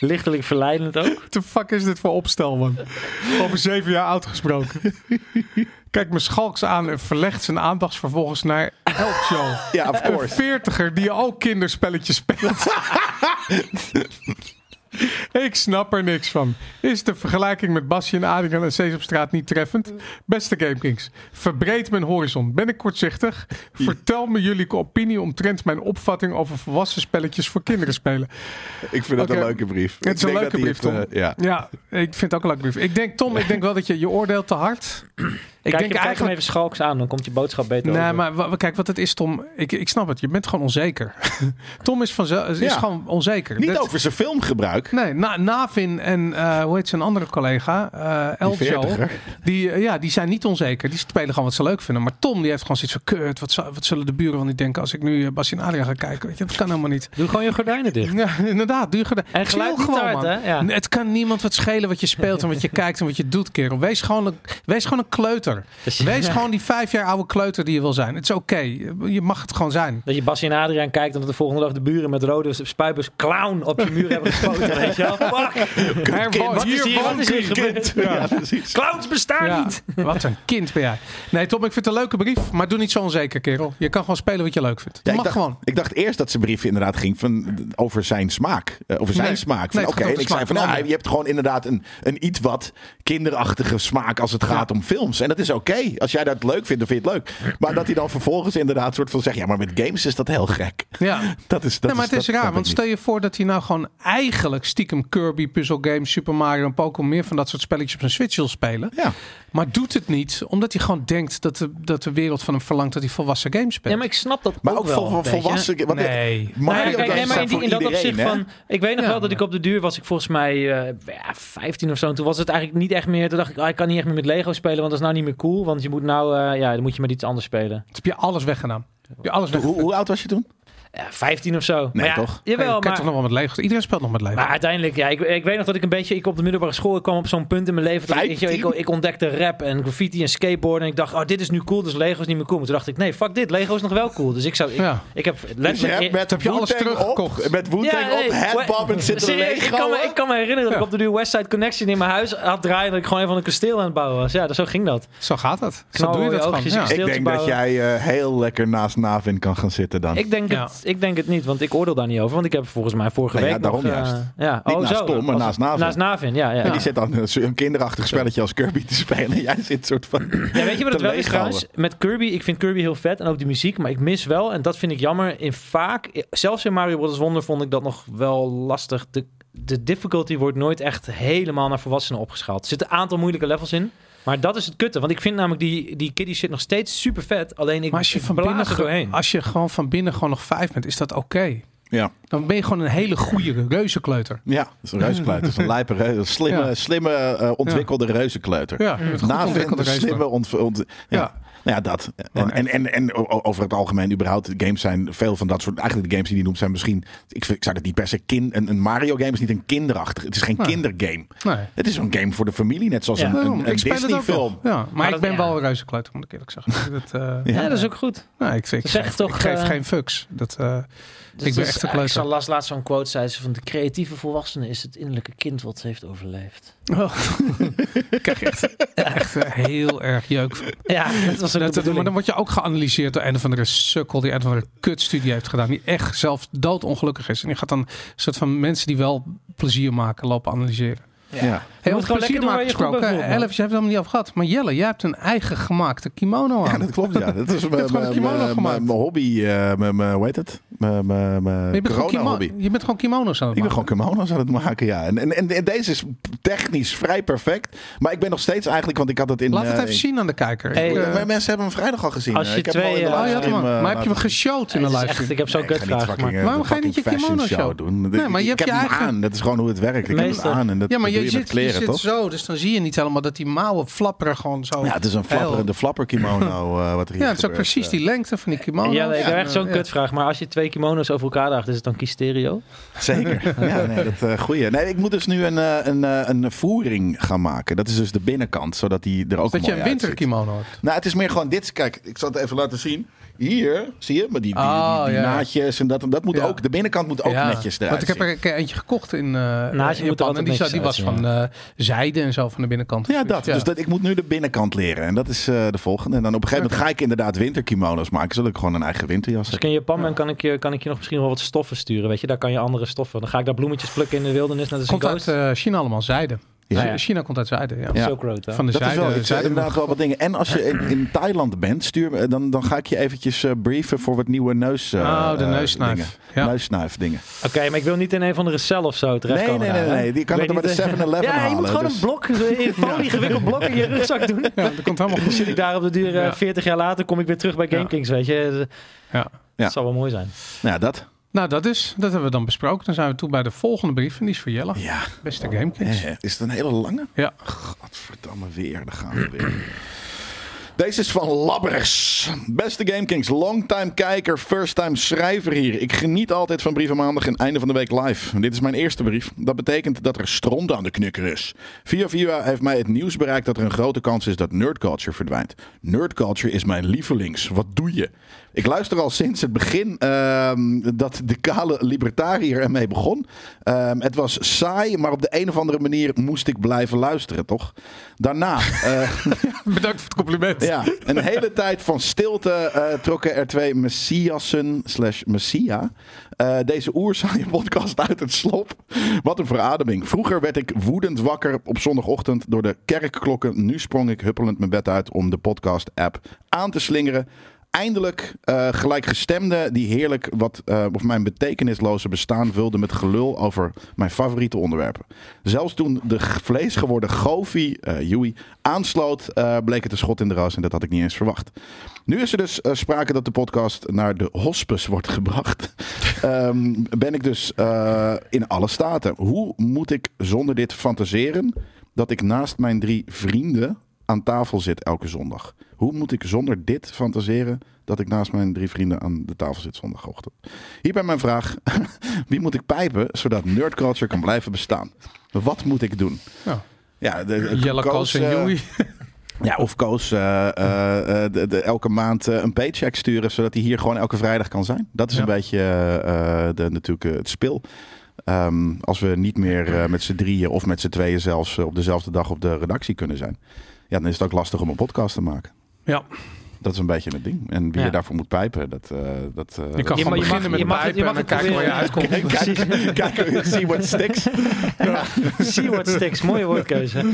S3: Lichtelijk verleidend ook.
S1: What the fuck is dit voor opstel, man? Over zeven jaar oud gesproken. Kijkt me schalks aan en verlegt zijn aandacht vervolgens naar Help Show.
S2: Ja, of
S1: Een
S2: course.
S1: veertiger die ook kinderspelletjes speelt. Ik snap er niks van. Is de vergelijking met Basje en Adriaan en Sesamstraat niet treffend? Beste GameKings, verbreed mijn horizon. Ben ik kortzichtig? Vertel me jullie opinie omtrent mijn opvatting over volwassen spelletjes voor kinderen spelen.
S2: Ik vind dat
S1: Oké.
S2: een leuke brief.
S1: Het is
S2: Ik
S1: een
S2: denk dat
S1: leuke
S2: hij
S1: brief, Tom.
S2: het, eh, ja.
S1: Ja, ik vind het ook een leuke brief. Ik denk, Tom, ik denk wel dat je je oordeelt te hard. Ik
S3: Kijk,
S1: denk
S3: je, kijk hem
S1: eigenlijk...
S3: even schalks aan, dan komt je boodschap beter
S1: Nee,
S3: over.
S1: maar wa- kijk, wat het is, Tom. Ik, ik snap het. Je bent gewoon onzeker. Tom is, vanzelf, is
S2: Ja.
S1: gewoon onzeker.
S2: Niet
S1: Dat-
S2: over zijn filmgebruik.
S1: Nee, Na- Navin en eh, hoe heet zijn andere collega? eh Eljo. Die,
S2: 40er.
S1: eh, ja, die zijn niet onzeker. Die spelen gewoon wat ze leuk vinden. Maar Tom die heeft gewoon zoiets van... Kut, wat, zou- wat zullen de buren wel niet denken als ik nu eh, Bas en Adriaan ga kijken? Weet je, dat kan helemaal niet.
S3: Doe gewoon je gordijnen dicht.
S1: Ja, inderdaad. Duur gedaan.
S3: En
S1: Ik zie
S3: geluid
S1: ook
S3: niet
S1: gewoon,
S3: uit,
S1: man.
S3: hè? Ja.
S1: Nee, Het kan niemand wat schelen wat je speelt en wat je kijkt en wat je doet, kerel. Wees gewoon een, wees gewoon een kleuter.
S3: Dus-
S1: Wees gewoon die vijf jaar oude kleuter die je wil zijn. Het is oké. Je mag het gewoon zijn.
S3: Dat je Basje en Adriaan kijkt en dat de volgende dag de buren met rode spuibus clown op je muur hebben gespoten. weet je wel? Fuck.
S1: Er
S3: kind.
S1: wo-
S3: Wat is hier-
S1: woont
S3: wat is hier
S1: hij.
S3: gebeurd?
S1: Ja.
S2: precies.
S3: Clowns bestaan
S1: Ja,
S3: niet!
S1: Wat een kind ben jij. Nee, Tom, ik vind het een leuke brief, maar doe niet zo onzeker, kerel. Je kan gewoon spelen wat je leuk vindt.
S2: Ja,
S1: Je
S2: ik,
S1: mag
S2: dacht,
S1: gewoon.
S2: ik dacht eerst dat zijn brief inderdaad ging van, over zijn smaak. Eh, over zijn
S1: Nee.
S2: smaak. Van,
S1: Nee, het gaat
S2: Oké,
S1: over
S2: en
S1: de
S2: ik zei
S1: smaak
S2: van
S1: van
S2: nou,
S1: anderen.
S2: je hebt gewoon inderdaad een, een iets wat kinderachtige smaak als het gaat om films. En dat is oké. Als jij dat leuk vindt, dan vind je het leuk. Maar dat hij dan vervolgens inderdaad soort van zegt, ja, maar met games is dat heel gek.
S1: Ja.
S2: Dat is, dat
S1: nee, maar het is
S2: dat
S1: raar,
S2: snap
S1: want
S2: ik
S1: stel je voor dat hij nou gewoon eigenlijk stiekem Kirby, Puzzle Games, Super Mario en Pokémon meer van dat soort spelletjes op zijn Switch wil spelen.
S2: niet. Ja.
S1: Maar doet het niet, omdat hij gewoon denkt dat de, dat de wereld van hem verlangt dat hij volwassen games speelt.
S3: Ja, maar ik snap dat
S2: Maar
S3: ook,
S2: ook,
S3: wel.
S2: vol,
S3: weet je.
S2: volwassen... want
S1: Nee.
S2: Mario
S3: Nou ja, kijk,
S2: games
S3: nee, maar
S2: zijn
S3: in, die-
S2: voor
S3: in dat
S2: iedereen, hè?
S3: opzicht van. Ik weet nog
S1: Ja.
S3: wel dat ik op de duur was. Ik volgens mij eh, ja, 15 of zo. En toen was het eigenlijk niet echt meer. Toen dacht ik, ah, ik kan niet echt meer met Lego spelen. Want dat is nou niet meer cool. Want je moet nou. eh, ja, dan moet je met iets anders spelen.
S1: heb je alles weggedaan. Heb je alles weggedaan.
S2: Hoe, hoe oud was je toen?
S3: Ja, 15 of zo. maar ja,
S2: toch?
S1: Hey,
S3: Jawel,
S1: je kijkt
S3: maar.
S1: toch nog wel met Lego. Iedereen speelt nog met Lego.
S3: Maar uiteindelijk, ja, ik, ik weet nog dat ik een beetje, ik op de middelbare school, ik kwam op zo'n punt in mijn leven. Dat ik,
S2: 15?
S3: ik, ik ontdekte rap en graffiti en skateboarden. En ik dacht, oh, dit is nu cool, dus Lego is niet meer cool. Maar toen dacht ik, nee, fuck dit, Lego is nog wel cool. Dus ik zou, ik,
S1: Ja.
S3: ik heb
S2: Dus je hebt
S3: letterlijk...
S2: met
S1: heb je alles
S2: Wu-Tang
S1: teruggekocht?
S2: Op, met Wu-Tang op,
S3: nee.
S2: headbobbend zitten
S3: Serieus, ik, kan
S2: Lego.
S3: me, ik kan me herinneren dat ik op de duur Westside Connection in mijn huis had draaien. Dat ik gewoon even een kasteel aan het bouwen was. Ja, dus zo ging dat.
S1: Zo gaat dat. Zo
S3: Knal
S1: doe je
S3: je
S1: dat gewoon.
S3: oogjes in
S1: Ja.
S3: je
S2: Ik
S3: kasteel
S2: denk
S3: te
S2: dat jij eh, heel lekker naast Navin kan gaan zitten dan.
S3: Ik denk,
S1: Ja.
S3: het, ik denk het niet, want ik oordeel daar niet over. Want ik heb volgens mij vorige
S2: Nou ja,
S3: week nog...
S2: daarom
S3: eh,
S2: juist.
S3: ja.
S2: Niet
S3: oh,
S2: naast
S3: zo,
S2: Tom, maar
S3: was-
S2: naast Navin.
S3: Naast Navin, ja. ja.
S2: En die zit dan eh, zo- een kinderachtig spelletje als Kirby te spelen. Jij zit soort van.
S3: Ja, weet je wat
S2: te
S3: het wel is
S2: leeghalen.
S3: trouwens? Met Kirby, ik vind Kirby heel vet en ook die muziek, maar ik mis wel, en dat vind ik jammer, in vaak, zelfs in Mario Bros. Wonder vond ik dat nog wel lastig. De, de difficulty wordt nooit echt helemaal naar volwassenen opgeschaald. Er zitten een aantal moeilijke levels in, maar dat is het kutte, want ik vind namelijk die, die kiddie shit nog steeds super vet, alleen ik,
S1: Maar als je,
S3: ik
S1: van
S3: blaas
S1: binnen, Ah,
S3: er doorheen.
S1: ge- als je gewoon van binnen gewoon nog vijf bent, is dat oké.
S2: Ja,
S1: Dan ben je gewoon een hele goede reuzenkleuter.
S2: ja. dat is een reuzenkleuter. Dat is een lijpe reuze- slimme,
S1: Ja.
S2: slimme eh, ontwikkelde reuzenkleuter.
S1: Ja, met goed ontwikkelde
S2: Navind, slimme
S1: reuzenkleuter.
S2: ont, ont- ja.
S1: Ja.
S2: Nou ja, dat. En, en, en, en o- over het algemeen, überhaupt, games zijn veel van dat soort. Eigenlijk de games die die noemt zijn misschien. Ik, vind- ik zou dat niet per se. Kin, een, een Mario game is niet een kinderachtig. Het is geen kindergame.
S1: Nee.
S2: Het is een game voor de familie, net zoals
S3: Ja.
S2: een, een,
S1: Daarom,
S2: een
S1: ik speel het ook
S2: Disney-film.
S1: nog. Ja, maar,
S3: Maar
S1: ik
S3: dat-
S1: ben
S3: ja.
S1: wel een reuzenkleuter, moet ik eerlijk zeggen. Dat, eh,
S2: Ja.
S3: Ja, dat is ook goed.
S1: nou, ik, ik,
S3: Zeg
S1: geef,
S3: toch,
S1: ik geef
S3: eh,
S1: geen fucks. Dat, eh,
S6: Dus
S1: ik ben
S6: het is
S1: echt een
S6: eigenlijk
S1: kleuter.
S6: zo'n las laatst zo'n quote zei ze van de creatieve volwassene is het innerlijke kind wat heeft overleefd.
S3: Oh.
S1: ik krijg echt, echt eh, heel erg jeuk van.
S6: Ja, dat was ook de
S1: Dat- maar dan
S6: bedoeling.
S1: word je ook geanalyseerd door een van de sukkel die een van de kutstudie heeft gedaan. Die echt zelf doodongelukkig is. En die gaat dan een soort van mensen die wel plezier maken lopen analyseren.
S2: Ja.
S1: Hey,
S3: moet
S1: over
S3: gewoon lekker
S1: plezier
S3: doen waar
S1: maken
S3: je goed bij
S1: gesproken.
S3: voelt, man.
S1: Elvis, je hebt het helemaal niet over gehad. Maar Jelle, jij hebt een eigen gemaakte kimono aan.
S2: Ja, dat klopt. Ja. Dat is
S1: hebt
S2: mijn-
S1: gewoon een
S2: mijn
S1: kimono
S2: mijn-
S1: gemaakt.
S2: mijn hobby. eh, mijn- mijn- Hoe heet het? Mijn- Mijn
S1: Maar
S2: mijn
S1: je, bent gewoon kimo-
S2: corona-hobby.
S1: je bent gewoon kimono's aan het
S2: Ik ben
S1: maken.
S2: gewoon kimono's aan het maken, ja. En, en, en, en deze is technisch vrij perfect. Maar ik ben nog steeds eigenlijk, want ik had het in...
S1: Laat
S2: eh,
S1: het even
S2: in-
S1: zien aan de kijker.
S3: Hey,
S1: Ik, eh,
S2: Ja, maar mensen hebben hem vrijdag al gezien.
S3: Als
S2: Eh,
S3: je
S2: ik heb hem al
S3: twee,
S2: in de
S3: eh,
S1: oh, je had hem
S2: livestream,
S1: al.
S2: eh,
S1: maar heb je hem
S2: laten-
S1: geshoot in de
S3: Het is
S1: live?
S3: echt, ik heb zo'n
S2: Nee, ik ga niet
S3: kutvraag
S2: fucking,
S3: gemaakt.
S2: eh,
S1: Waarom
S2: de
S1: ga je niet
S2: fucking
S1: je
S2: fashion
S1: kimono show?
S2: doen?
S1: Nee, maar je
S2: ik
S1: hebt
S2: heb
S1: je
S2: hem
S1: eigen-
S2: aan. Dat is gewoon hoe het werkt. Ik heb hem
S3: Meester.
S2: aan en dat
S1: Ja, maar
S2: doe
S1: je,
S2: je
S1: zit,
S2: met kleren,
S1: je zit
S2: toch?
S1: zo, dus dan zie je niet helemaal dat die mouwen flapperen gewoon zo.
S2: Ja, het is een flapper, de flapper kimono eh, wat er hier
S1: Ja, het is ook
S2: gebeurt,
S1: precies
S2: eh.
S1: die lengte van die kimono.
S3: Jelle, ik heb echt zo'n
S1: Oh, Ja.
S3: kutvraag. Maar als je twee kimono's over elkaar draagt, is het dan kiesterio?
S2: Zeker. Ja, nee, dat eh goeie. Nee, ik moet dus nu een, eh, een, eh, een voering gaan maken. Dat is dus de binnenkant, zodat die er ook
S1: Dat je
S2: mooi
S1: een
S2: uitziet.
S1: winterkimono hebt.
S2: Nou, het is meer gewoon dit. Kijk, ik zal het even laten zien. Hier, zie je? Maar die, die,
S1: Oh,
S2: die
S1: ja.
S2: naadjes en dat, en dat moet
S1: Ja.
S2: ook. De binnenkant moet ook netjes eruit
S1: Want ik heb er een keer eentje gekocht in, eh
S3: moet er
S1: in Japan. En die,
S3: altijd
S1: zou-
S3: netjes
S1: die was
S3: uitzien,
S1: van eh, zijde en zo van de binnenkant.
S2: Ja, dat. Dus dat, ik moet nu de binnenkant leren. En dat is eh, de volgende. En dan op een gegeven moment ga ik inderdaad winterkimono's maken. Zodat ik gewoon een eigen winterjas
S3: Als ik
S2: heb.
S3: in Japan ben, Dus kan ik, je, kan ik je nog misschien wel wat stoffen sturen. Weet je, daar kan je andere stoffen. Dan ga ik daar bloemetjes plukken in de wildernis naar de
S1: komt uit
S3: Zuidoost.
S1: eh, China allemaal zijde.
S2: Ja.
S1: Ja. China komt uit zijde, eh, ja.
S2: Ja.
S3: Silk Road, hè?
S1: Van Dus de
S2: Dat is
S1: zijde.
S2: wel, ik zei
S1: zijde
S2: inderdaad wel wat dingen. En als je in, in Thailand bent, stuur, me- dan, dan ga ik je eventjes eh, brieven voor wat nieuwe neus. eh,
S1: Oh, de
S2: eh,
S1: neussnuif.
S2: dingen.
S1: Ja.
S2: Neusnuifdingen.
S3: Oké, maar ik wil niet in een van de cel of zo terecht
S2: Nee,
S3: komen
S2: nee, nee,
S3: daar, hè?
S2: nee. Die kan
S3: Ik
S2: het
S3: weet
S2: bij de
S3: niet, eh,
S2: 7-Eleven
S3: Ja, je
S2: halen,
S3: moet gewoon
S2: dus-
S3: een blok, in folie gewikkeld blok in je rugzak doen.
S1: Ja, dat komt helemaal
S3: Dan
S1: goed.
S3: zit ik daar op de duur eh,
S1: Ja.
S3: 40 jaar later, kom ik weer terug bij GameKings, weet je. Eh, Dat
S1: Ja.
S2: Ja.
S3: zou wel mooi zijn.
S2: Nou, ja, dat.
S1: Nou, dat is. Dat hebben we dan besproken. Dan zijn we toe bij de volgende brief. En die is voor Jelle.
S2: Ja.
S1: Beste Gamekids.
S2: Eh, Is het een hele lange?
S1: Ja.
S2: Godverdamme weer, daar gaan we weer. Deze is van Labbers. Beste GameKings, longtime kijker, first-time schrijver hier. Ik geniet altijd van brieven maandag en einde van de week live. Dit is mijn eerste brief. Dat betekent dat er stront aan de knikker is. Via via heeft mij het nieuws bereikt dat er een grote kans is dat nerdculture verdwijnt. Nerdculture is mijn lievelings. Wat doe je? Ik luister al sinds het begin ehm, dat de kale libertariër ermee begon. Ehm, het was saai, maar op de een of andere manier moest ik blijven luisteren, toch? Daarna... eh,
S1: Bedankt voor het compliment.
S2: ja, een hele tijd van stilte eh, trokken er twee messiassen slash messia eh, deze oerzaaie podcast uit het slop. Wat een verademing. Vroeger werd ik woedend wakker op zondagochtend door de kerkklokken. Nu sprong ik huppelend mijn bed uit om de podcast app aan te slingeren. Eindelijk eh, gelijkgestemden die heerlijk wat, eh, of mijn betekenisloze bestaan vulden met gelul over mijn favoriete onderwerpen. Zelfs toen de g- vleesgeworden Goofy, eh Joey, aansloot, eh, bleek het een schot in de roos en dat had ik niet eens verwacht. Nu is er dus eh, sprake dat de podcast naar de hospice wordt gebracht. Ehm, ben ik dus eh, in alle staten. Hoe moet ik zonder dit fantaseren dat ik naast mijn drie vrienden aan tafel zit elke zondag? Hoe moet ik zonder dit fantaseren dat ik naast mijn drie vrienden aan de tafel zit zondagochtend? Hierbij mijn vraag. Wie moet ik pijpen zodat nerdculture kan blijven bestaan? Wat moet ik doen?
S1: Ja.
S2: Ja, de, de-
S1: Jelle
S2: Koos,
S1: Koos en
S2: eh,
S1: Joey.
S2: ja, of Koos eh, eh, eh, de- de- elke maand eh, een paycheck sturen, zodat hij hier gewoon elke vrijdag kan zijn. Dat is
S1: Ja.
S2: een beetje eh, eh, de, natuurlijk eh, het spil. Ehm, als we niet meer eh, met z'n drieën of met z'n tweeën zelfs eh, op dezelfde dag op de redactie kunnen zijn. Ja, dan is het ook lastig om een podcast te maken.
S1: Ja.
S2: Dat is een beetje het ding. En wie
S3: Ja.
S2: je daarvoor moet pijpen, dat... eh dat eh,
S1: Je kan
S3: Je
S1: gewoon
S3: mag- je
S1: beginnen
S3: mag-
S1: met
S3: je
S1: een
S3: mag het- je
S1: pijpen en
S3: mag
S1: dan
S3: het
S1: kijken waar je
S3: proberen.
S2: Kijk,
S1: uitkomt.
S2: kijk, kijk, see what sticks.
S3: See what sticks. Mooie woordkeuze.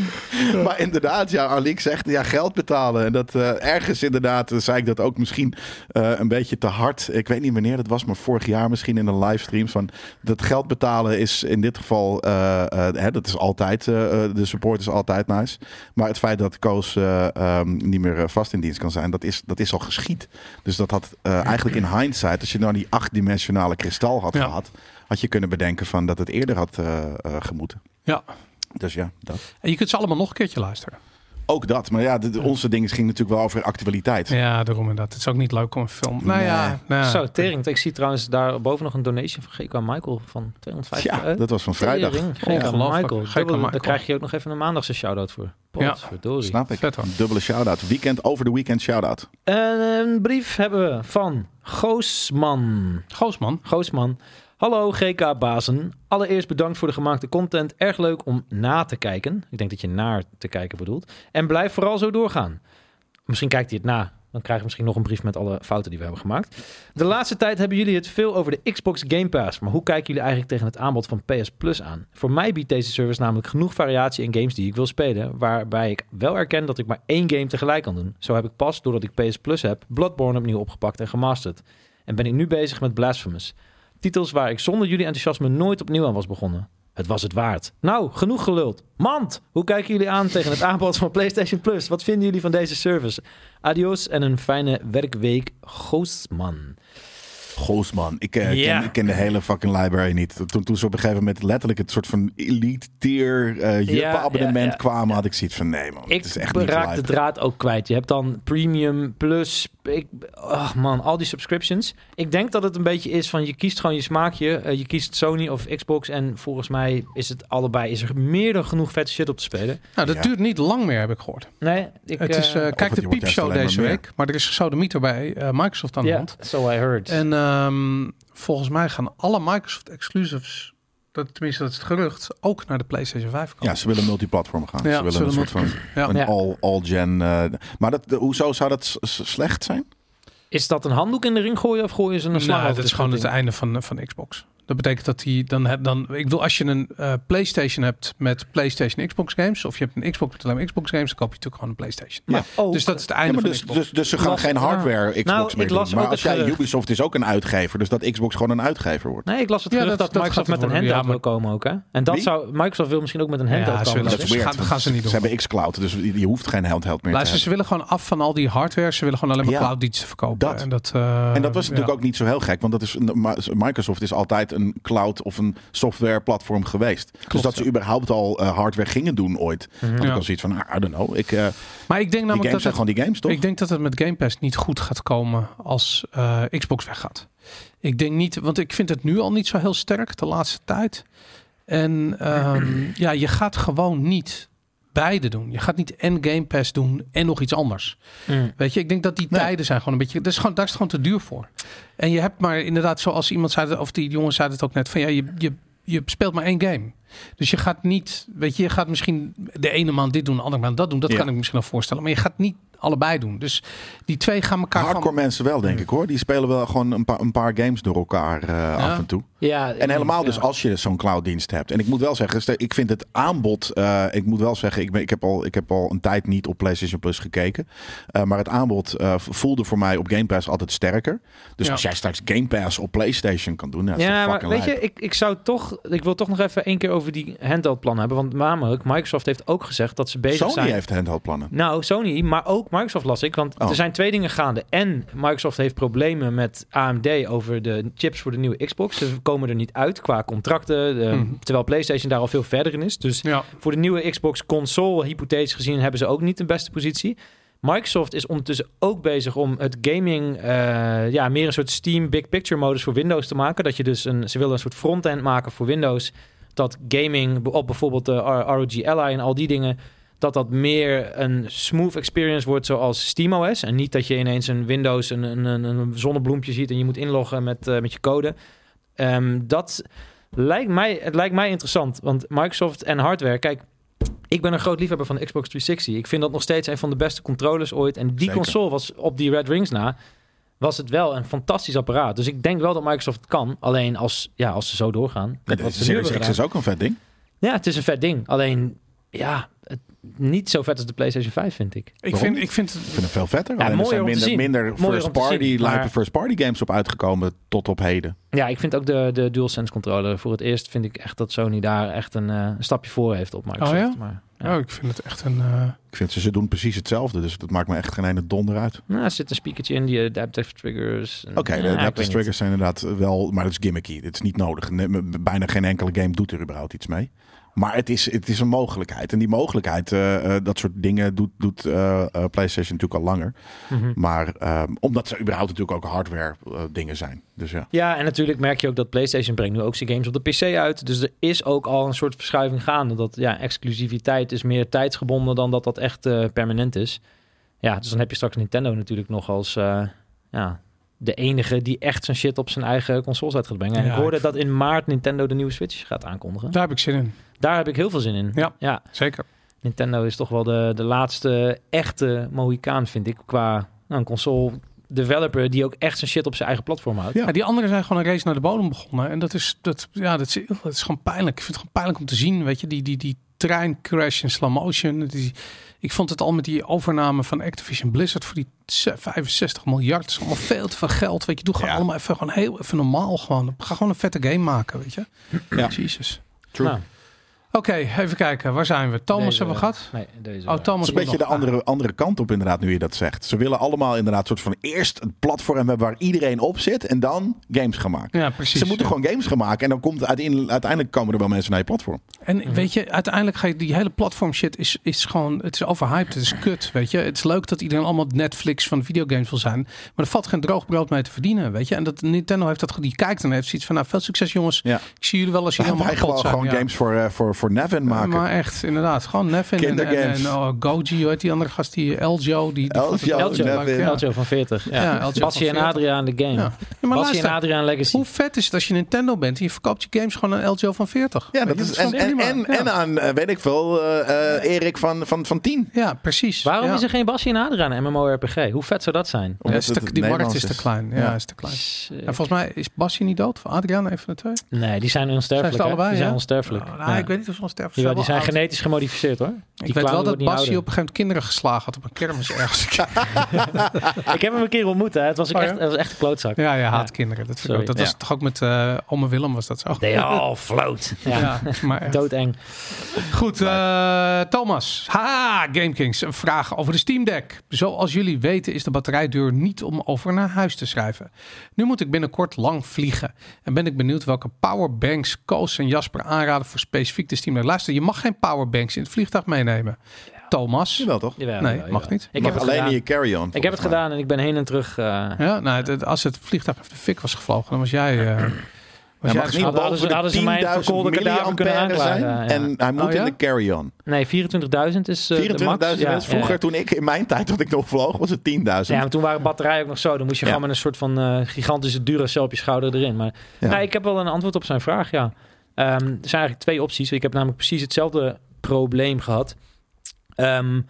S2: Maar inderdaad, ja, Arliek zegt ja, geld betalen. En dat eh, ergens inderdaad eh, zei ik dat ook misschien eh, een beetje te hard. Ik weet niet wanneer dat was, maar vorig jaar misschien in een livestream. Van dat geld betalen is in dit geval, eh, eh, hè, dat is altijd, eh, eh, de support is altijd nice. Maar het feit dat Koos eh, ehm, niet meer eh, vast in dienst kan zijn, dat is is, dat is al geschied. Dus dat had eh, eigenlijk in hindsight, als je nou die achtdimensionale kristal had
S1: Ja.
S2: gehad, had je kunnen bedenken van dat het eerder had eh, eh, gemoeten.
S1: Ja.
S2: Dus ja, dat.
S1: En je kunt ze allemaal nog een keertje luisteren.
S2: Ook dat. Maar ja, de, de- onze ding ging natuurlijk wel over actualiteit.
S1: Ja, daarom en dat. Het is ook niet leuk om een film. Nou
S2: Nee.
S1: ja, nou,
S3: Zo, tering. Ik zie trouwens daarboven nog een donation van GK Michael van 250
S2: Ja,
S3: euro.
S2: dat was van vrijdag.
S3: Tering. GK
S1: Ongelooflijk.
S3: Michael.
S1: GK
S3: Dubbel-
S1: Michael.
S3: Daar krijg je ook nog even een maandagse shout-out voor.
S1: Ja.
S3: Potverdorie.
S2: Snap ik.
S1: Vet hoor.
S2: Dubbele shout-out. Weekend over de weekend shout-out.
S3: En een brief hebben we van Goosman.
S1: Goosman.
S3: Goosman. Hallo GK-bazen. Allereerst bedankt voor de gemaakte content. Erg leuk om na te kijken. Ik denk dat je naar te kijken bedoelt. En blijf vooral zo doorgaan. Misschien kijkt hij het na. Dan krijg je misschien nog een brief met alle fouten die we hebben gemaakt. De laatste tijd hebben jullie het veel over de Xbox Game Pass. Maar hoe kijken jullie eigenlijk tegen het aanbod van PS Plus aan? Voor mij biedt deze service namelijk genoeg variatie in games die ik wil spelen. Waarbij ik wel erken dat ik maar één game tegelijk kan doen. Zo heb ik pas, doordat ik PS Plus heb, Bloodborne opnieuw opgepakt en gemasterd. En ben ik nu bezig met Blasphemous. Titels waar ik zonder jullie enthousiasme nooit opnieuw aan was begonnen. Het was het waard. Nou, genoeg geluld. Mand, hoe kijken jullie aan tegen het aanbod van PlayStation Plus? Wat vinden jullie van deze service? Adios en een fijne werkweek, Goostman.
S2: Oh, Goosman. Ik, eh,
S3: Ja.
S2: ken, ik ken de hele fucking library niet. Toen, toen ze op een gegeven moment letterlijk het soort van elite tier eh
S3: ja,
S2: abonnement
S3: ja.
S2: kwamen, had ik zoiets van nee man,
S3: Ik
S2: het is echt niet
S3: raak de
S2: live.
S3: draad ook kwijt. Je hebt dan Premium Plus. Ik, ach man, al die subscriptions. Ik denk dat het een beetje is van je kiest gewoon je smaakje. Eh, je kiest Sony of Xbox. En volgens mij is het allebei is er meer dan genoeg vette shit op te spelen.
S1: Nou, dat
S2: Ja.
S1: duurt niet lang meer, heb ik gehoord.
S3: Nee, ik...
S1: het is, eh,
S3: eh,
S1: kijk
S2: het
S1: de
S2: wordt juist
S1: piepshow
S2: alleen maar
S1: deze
S2: meer.
S1: week. Maar er is gesodemieter bij eh, Microsoft aan de
S3: ja,
S1: hand.
S3: so I heard.
S1: En ehm, volgens mij gaan alle Microsoft exclusives, dat, tenminste dat is het gerucht, ook naar de PlayStation 5 komen.
S2: Ja, ze willen multiplatform gaan.
S1: Ja,
S2: ze willen
S1: ze
S2: een
S1: willen
S2: soort van
S1: Ja.
S2: een
S3: Ja.
S2: all, all gen. eh, maar dat, de- hoezo zou dat s- s- slecht zijn?
S3: Is dat een handdoek in de ring gooien of gooien ze een slag?
S1: Nou, dat is gewoon het einde van, eh, van Xbox. Dat betekent dat die dan, heb- dan ik bedoel, als je een eh, PlayStation hebt met PlayStation Xbox games, of je hebt een Xbox met alleen maar Xbox games, dan koop je natuurlijk gewoon een PlayStation.
S2: Ja.
S3: Ook,
S1: Dus dat is het
S2: Ja,
S1: einde
S2: maar
S1: van
S2: dus,
S1: Xbox.
S2: dus, dus ze gaan
S3: Las-
S2: geen hardware Xbox
S3: Nou,
S2: meer
S3: ik
S2: doen.
S3: las ook
S2: Maar als
S3: het
S1: eh,
S2: jij
S3: gerucht.
S2: Ubisoft is ook een uitgever, dus dat Xbox gewoon een uitgever wordt.
S3: Nee, ik las het
S1: Ja,
S3: gerucht
S1: dat- dat
S3: dat, Microsoft
S1: gaat
S3: met
S1: het
S3: een
S1: worden,
S3: handheld
S1: ja,
S3: wil komen ook, hè? En dat
S2: Wie?
S3: zou... Microsoft wil misschien ook met een
S1: Ja,
S3: handheld
S1: ze
S3: komen.
S1: willen
S2: Dat is
S1: Ze
S2: weird,
S1: gaan-
S2: want
S1: gaan ze niet doen.
S2: Ze hebben xCloud, dus je hoeft geen handheld meer te
S1: Luister, ze willen gewoon af van al die hardware. Ze willen gewoon alleen maar
S2: Ja.
S1: clouddiensten verkopen.
S2: Dat.
S1: En dat, eh,
S2: En dat was natuurlijk
S1: ja.
S2: ook niet zo heel gek, want dat is, Microsoft is altijd een cloud of een software platform geweest. dus dat
S1: ja. Mhm.
S2: ze überhaupt al eh, hardware gingen doen ooit. Had ik
S1: Ja. Nou,
S2: al zoiets van, ah, I don't know. Ik, eh,
S1: Maar ik denk
S2: die
S1: namelijk
S2: games
S1: dat
S2: zijn
S1: het
S2: gewoon die games, toch?
S1: Ik denk dat het met Game Pass niet goed gaat komen als eh, Xbox weggaat. Ik denk niet, want ik vind het nu al niet zo heel sterk de laatste tijd. En ehm, ja, je gaat gewoon niet beide doen. Je gaat niet en Game Pass doen en nog iets anders.
S3: Mm.
S1: Weet je, ik denk dat die
S2: Nee.
S1: tijden zijn gewoon een beetje. Dat is gewoon, daar is het gewoon te duur voor. En je hebt maar inderdaad, zoals iemand zei, of die jongen zei het ook net, van ja, je, je, je speelt maar één game. Dus je gaat niet, weet je, je gaat misschien de ene maand dit doen, de andere maand dat doen. Dat
S2: Ja.
S1: kan ik misschien nog voorstellen. Maar je gaat niet allebei doen. Dus die twee gaan elkaar
S2: Hardcore
S1: gewoon-
S2: mensen wel, denk ik hoor. Die spelen wel gewoon een paar, een paar games door elkaar eh, af en toe.
S3: Ja,
S2: En helemaal dus als je zo'n clouddienst hebt. En ik moet wel zeggen, stel- ik vind het aanbod. eh, ik moet wel zeggen, ik, ben, ik, heb al, ik heb al een tijd niet op PlayStation Plus gekeken. Eh, maar het aanbod eh, voelde voor mij op Game Pass altijd sterker. Dus
S1: Ja.
S2: als jij straks Game Pass op PlayStation kan doen, nou, dat is
S3: Ja,
S2: toch
S3: maar
S2: fucking
S3: weet
S2: lijp.
S3: je, ik, ik zou toch... Ik wil toch nog even één keer over die handheldplan hebben. Want namelijk, Microsoft heeft ook gezegd dat ze bezig
S2: Sony
S3: zijn...
S2: heeft handheldplannen.
S3: Nou, Sony, maar ook Microsoft las ik. Want
S2: Oh.
S3: er zijn twee dingen gaande. En Microsoft heeft problemen met AMD over de chips voor de nieuwe Xbox. Ze komen er niet uit qua contracten. eh,
S1: Mhm.
S3: Terwijl PlayStation daar al veel verder in is. Dus
S1: Ja,
S3: voor de nieuwe Xbox console, hypothetisch gezien, hebben ze ook niet de beste positie. Microsoft is ondertussen ook bezig om het gaming eh, ja, meer een soort Steam Big Picture modus voor Windows te maken. Dat je dus een, ze willen een soort frontend maken voor Windows. Dat gaming op bijvoorbeeld de R- ROG Ally en al die dingen. Dat dat meer een smooth experience wordt zoals SteamOS. En niet dat je ineens een Windows een, een, een, een zonnebloempje ziet en je moet inloggen met, eh, met je code. Ehm, dat lijkt mij, het lijkt mij interessant. Want Microsoft en hardware, kijk, ik ben een groot liefhebber van de Xbox 360. Ik vind dat nog steeds een van de beste controllers ooit. En die
S2: Zeker.
S3: console was op die Red Rings na, was het wel een fantastisch apparaat. Dus ik denk wel dat Microsoft het kan. Alleen als, ja, als ze zo doorgaan. met
S2: Nee,
S3: wat
S2: de
S3: ze nu
S2: Eh, Series
S3: hebben
S2: X
S3: gedaan.
S2: is ook een vet ding.
S3: Ja, het is een vet ding. Alleen, ja, het, niet zo vet als de PlayStation 5, vind ik.
S1: Ik
S2: Waarom?
S1: vind, ik vind het
S2: Ik vind het veel vetter. Alleen er
S3: mooier
S2: zijn
S3: om te
S2: minder,
S3: zien.
S2: minder
S3: Mooier
S2: first
S3: om te zien,
S2: party, lijpe
S3: maar-
S2: first party games op uitgekomen tot op heden.
S3: Ja, ik vind ook de, de DualSense controller voor het eerst vind ik echt dat Sony daar echt een, eh, een stapje voor heeft op Microsoft.
S1: Oh ja?
S3: Maar, ja.
S1: Oh, ik vind het echt een. eh,
S2: Ik vind ze, ze doen precies hetzelfde, dus dat maakt me echt geen ene donder uit.
S3: Nou, er zit een speakertje in, die adaptive triggers. en-
S2: Oké,
S3: ja,
S2: de
S3: ik
S2: adaptive
S3: weet niet.
S2: triggers zijn inderdaad wel, maar dat is gimmicky. Het is niet nodig. Nee, m- Bijna geen enkele game doet er überhaupt iets mee. Maar het is, het is een mogelijkheid. En die mogelijkheid, eh, eh, dat soort dingen, doet, doet eh, eh, PlayStation natuurlijk al langer.
S3: Mhm.
S2: Maar ehm, omdat ze überhaupt natuurlijk ook hardware eh, dingen zijn. Dus ja.
S3: Ja, en natuurlijk merk je ook dat PlayStation brengt nu ook zijn games op de PC uit. Dus er is ook al een soort verschuiving gaande. Dat ja, exclusiviteit is meer tijdsgebonden dan dat dat echt eh, permanent is. Ja, dus dan heb je straks Nintendo natuurlijk nog als eh, ja, de enige die echt zijn shit op zijn eigen consoles uit gaat brengen. En
S1: Ja,
S3: ik hoorde
S1: ik-
S3: dat in maart Nintendo de nieuwe Switch gaat aankondigen.
S1: daar heb ik zin in.
S3: Daar heb ik heel veel zin in.
S1: Ja.
S3: ja
S1: Zeker.
S3: Nintendo is toch wel de, de laatste echte Mohikaan, vind ik. Qua nou, een console developer die ook echt zijn shit op zijn eigen platform houdt.
S2: Ja.
S1: Ja, die anderen zijn gewoon een race naar de bodem begonnen. En dat is, dat, ja, dat is, dat is gewoon pijnlijk. Ik vind het gewoon pijnlijk om te zien. Weet je, die, die, die treincrash in slow motion. Die, ik vond het al met die overname van Activision Blizzard voor die ze- 65 miljard. Dat is allemaal veel te veel geld. Weet je, doe gewoon
S2: Ja.
S1: allemaal even, gewoon heel even normaal. Gewoon. Ga gewoon een vette game maken, weet je.
S2: Ja.
S1: Jezus.
S2: True.
S3: Nou,
S1: Oké, even kijken. Waar zijn we? Thomas
S3: deze-
S1: hebben we gehad.
S3: Nee, deze.
S1: Oh, Thomas
S2: Het is een beetje
S1: moet
S2: de
S1: nog.
S2: andere, andere kant op inderdaad, nu je dat zegt. Ze willen allemaal inderdaad soort van eerst een platform hebben waar iedereen op zit en dan games gaan maken.
S1: Ah, Ja, precies.
S2: Ze moeten gewoon games gaan maken en dan komt uiteindelijk, uiteindelijk komen er wel mensen naar je platform.
S1: En weet je, uiteindelijk ga je die hele platform shit is, is gewoon, het is overhyped, het is kut, weet je. Het is leuk dat iedereen allemaal Netflix van videogames wil zijn, maar er valt geen droog brood mee te verdienen, weet je. En dat Nintendo heeft dat, ge- die kijkt en heeft zoiets van, nou veel succes jongens,
S2: Ja.
S1: ik zie jullie wel als je
S2: Laten
S1: helemaal
S2: wij gewoon,
S1: kapot zijn.
S2: gewoon
S1: ja.
S2: games voor, eh, voor, voor Nevin
S1: Ja,
S2: maken.
S1: Maar echt, inderdaad, gewoon Nevin en, en, en,
S2: Kindergames.
S1: oh, Goji, hoe heet die andere gast, die eh, Eljo. Die, die
S2: Eljo,
S1: vond het
S3: Eljo,
S1: leuk,
S2: Nevin.
S1: ja.
S3: Eltje van 40.
S1: Ja,
S3: Ja.
S1: Eltje
S3: Bassie
S1: van
S3: en
S1: 40.
S3: Adria aan de game.
S1: Ja. Ja, maar
S3: Bassie en
S1: luister,
S3: Adria aan Legacy.
S1: hoe vet is het als je Nintendo bent en je verkoopt je games gewoon aan Eljo van 40?
S2: ja,
S1: Weet
S2: dat
S1: je,
S2: is,
S1: gewoon
S2: en, en,
S1: prima,
S2: en,
S1: ja.
S2: en aan, eh, weet ik veel, eh, eh, Erik van, van, van 10.
S1: Ja, precies.
S3: Waarom
S1: ja.
S3: is er geen Bassie en Adria aan MMORPG? Hoe vet zou dat zijn?
S1: Ja,
S2: Omdat
S1: is te-
S2: het
S1: die markt
S2: Nederlands
S1: is te klein. Ja,
S2: Ja.
S1: is te klein.
S3: Shit.
S1: En volgens mij is Basje niet dood. Of Adriaan, even van de twee.
S3: Nee, die zijn onsterfelijk.
S1: Zijn ze
S3: hè?
S1: allebei,
S3: die zijn
S1: ja?
S3: onsterfelijk.
S1: Nou,
S3: Ja.
S1: Ik weet niet of ze al sterven.
S3: Jawel, die
S1: Ze
S3: zijn
S1: wel oud.
S3: genetisch gemodificeerd hoor. Die
S1: Ik weet wel
S3: clown
S1: dat
S3: wordt niet
S1: Basje op een
S3: ouder.
S1: gegeven moment kinderen geslagen had op een kermis ergens. ja,
S3: Ik heb hem een keer ontmoet. Hè. Het, was
S1: Oh,
S3: ook
S1: ja?
S3: echt, het was echt een klootzak.
S1: ja, haat kinderen. Dat, vind ik
S3: Sorry.
S1: ook. dat
S2: Ja.
S1: was toch ook met eh ome Willem was dat zo.
S3: They all float. Ja.
S1: Ja, maar eh, echt.
S3: Doodeng.
S1: Goed, eh, Thomas. Ha, GameKings. Een vraag over de Steam Deck. Zoals jullie weten is de batterijduur niet om over naar huis te schrijven. Nu moet ik binnenkort lang vliegen. En ben ik benieuwd welke powerbanks Koos en Jasper aanraden voor specifiek de Steam Deck. Luister, je mag geen powerbanks in het vliegtuig meenemen. Thomas.
S2: Jawel toch?
S3: Jawel,
S1: Nee,
S3: jawel,
S1: mag
S3: jawel.
S1: niet.
S3: Ik
S2: Mag
S3: heb het
S2: alleen
S3: gedaan.
S2: in je carry-on.
S3: Ik heb
S2: volgens
S3: het
S2: mij.
S3: gedaan en ik ben heen en terug. eh,
S1: Ja, nou, het- het- als het vliegtuig even de fik was gevlogen, dan was jij... eh,
S2: Hij
S1: was jij
S2: mag
S1: zo-
S2: niet
S3: hadden
S2: boven
S3: ze- hadden ze mij een
S2: de 10.000
S3: verkoolde kadaver kunnen
S2: milliampère zijn.
S3: aanklagen, ja.
S2: En hij moet
S1: Oh, ja?
S2: in de carry-on.
S3: Nee, 24.000 is eh,
S2: 24.000
S3: de max. Ja,
S2: is vroeger,
S3: ja.
S2: toen ik in mijn tijd dat ik nog vloog, was het 10.000.
S3: Ja, maar toen waren batterijen ook nog zo. Dan moest je
S2: Ja.
S3: gewoon met een soort van eh, gigantische Duracell op je schouder erin. Maar
S2: Ja.
S3: nee, ik heb wel een antwoord op zijn vraag, ja. Ehm, er zijn eigenlijk twee opties. Ik heb namelijk precies hetzelfde probleem gehad. Ehm,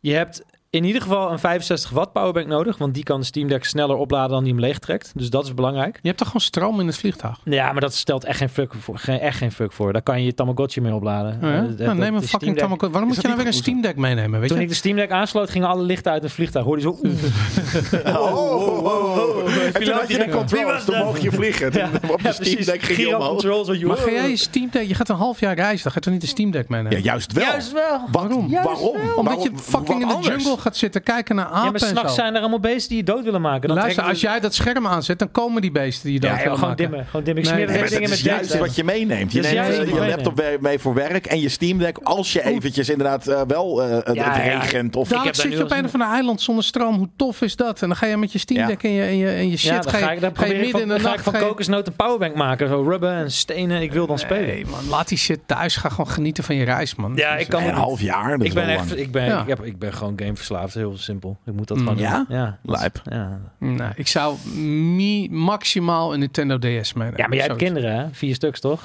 S3: je hebt in ieder geval een 65 watt powerbank nodig. Want die kan de Steam Deck sneller opladen dan die hem leegtrekt. Dus dat is belangrijk.
S1: Je hebt toch gewoon stroom in het vliegtuig?
S3: Ja, maar dat stelt echt geen fuck voor. Geen, echt geen fuck voor. Daar kan je je Tamagotchi mee opladen.
S1: Ja,
S3: Eh,
S1: nou,
S3: dat- dat-
S1: neem een
S3: de Steam
S1: fucking
S3: Deck-
S1: Tamagotchi. Waarom
S2: Is
S1: moet je
S2: dat
S1: nou weer een
S2: niet
S1: Steam Deck meenemen? Weet
S3: Toen
S1: je?
S3: ik de Steam Deck aansloot, gingen alle lichten uit het vliegtuig. Hoorde je zo... oeh.
S2: Oh, oh, oh, oh. En toen
S3: Piloot
S2: had je
S3: die
S2: de
S3: denkt, wie
S2: controls,
S3: was
S2: toen
S3: dat?
S2: mocht je vliegen.
S3: Ja,
S2: Toen Op de
S3: ja,
S2: Steam
S3: precies.
S2: Deck ging je
S3: Gyro
S2: omhoog.
S3: controls, wat je-
S1: Maar ga jij je Steam Deck... Je gaat een half jaar reizen, dan ga je toch niet de Steam Deck meenemen?
S2: Ja, juist wel.
S3: Juist wel.
S2: Waarom?
S3: Juist
S2: Waarom?
S1: Omdat
S2: Waarom-
S1: je fucking in
S2: wat
S1: de
S2: anders?
S1: jungle gaat zitten kijken naar apen
S3: Ja,
S1: en
S3: maar
S1: zo.
S3: s'nachts zijn er allemaal beesten die je dood willen maken. Dan
S1: Luister,
S3: trekken
S1: als
S3: ze-
S1: jij dat scherm aanzet, dan komen die beesten die je dood
S3: Ja, joh,
S1: willen
S3: gewoon
S1: maken.
S3: dimmen. Gewoon dimmen. Ik
S1: Nee,
S3: smeer
S1: nee,
S3: het
S2: Nee, maar
S3: hele
S2: dat
S3: ding
S2: is
S3: met
S2: juist
S3: dirt.
S2: wat je meeneemt. Je
S3: Dat is
S2: neemt
S3: juist
S2: je
S3: wat ik
S2: laptop mee- mee voor werk en je Steam Deck. Als je eventjes inderdaad eh, wel eh, het,
S3: Ja,
S2: het
S3: ja.
S2: regent. Of
S1: Dadelijk
S3: heb daar
S1: zit
S3: nu
S1: je
S3: al
S1: op een
S3: zin
S1: of ander eiland zonder stroom. Hoe tof is dat? En dan ga je met je Steam
S2: Ja.
S1: Deck en, je, en, je, en je shit.
S3: Ja, dan
S1: ga je,
S3: ga ik, dan
S1: ga je
S3: probeer ik
S1: midden
S3: van,
S1: in de
S3: ga
S1: nacht...
S3: ik van
S1: ga je-
S3: kokosnoot een powerbank maken. Zo rubber en stenen. Ik wil dan spelen.
S1: Nee, man. Laat die shit thuis. Ga gewoon genieten van je reis, man.
S3: Ja, ik kan
S2: een
S3: het niet.
S2: half jaar. Dat is
S3: Ik ben,
S2: wel
S3: echt,
S2: lang.
S3: ik, ben,
S1: Ja.
S3: ik, heb, ik ben gewoon gameverslaafd. Heel simpel. Ik moet dat
S1: Mm.
S3: gewoon doen.
S2: Ja?
S3: Ja.
S2: Lijp.
S3: Ja.
S1: Nou, ik zou mi- maximaal een Nintendo DS meenemen.
S3: ja, maar jij hebt
S1: Zoiets.
S3: kinderen, hè? Vier stuks, toch?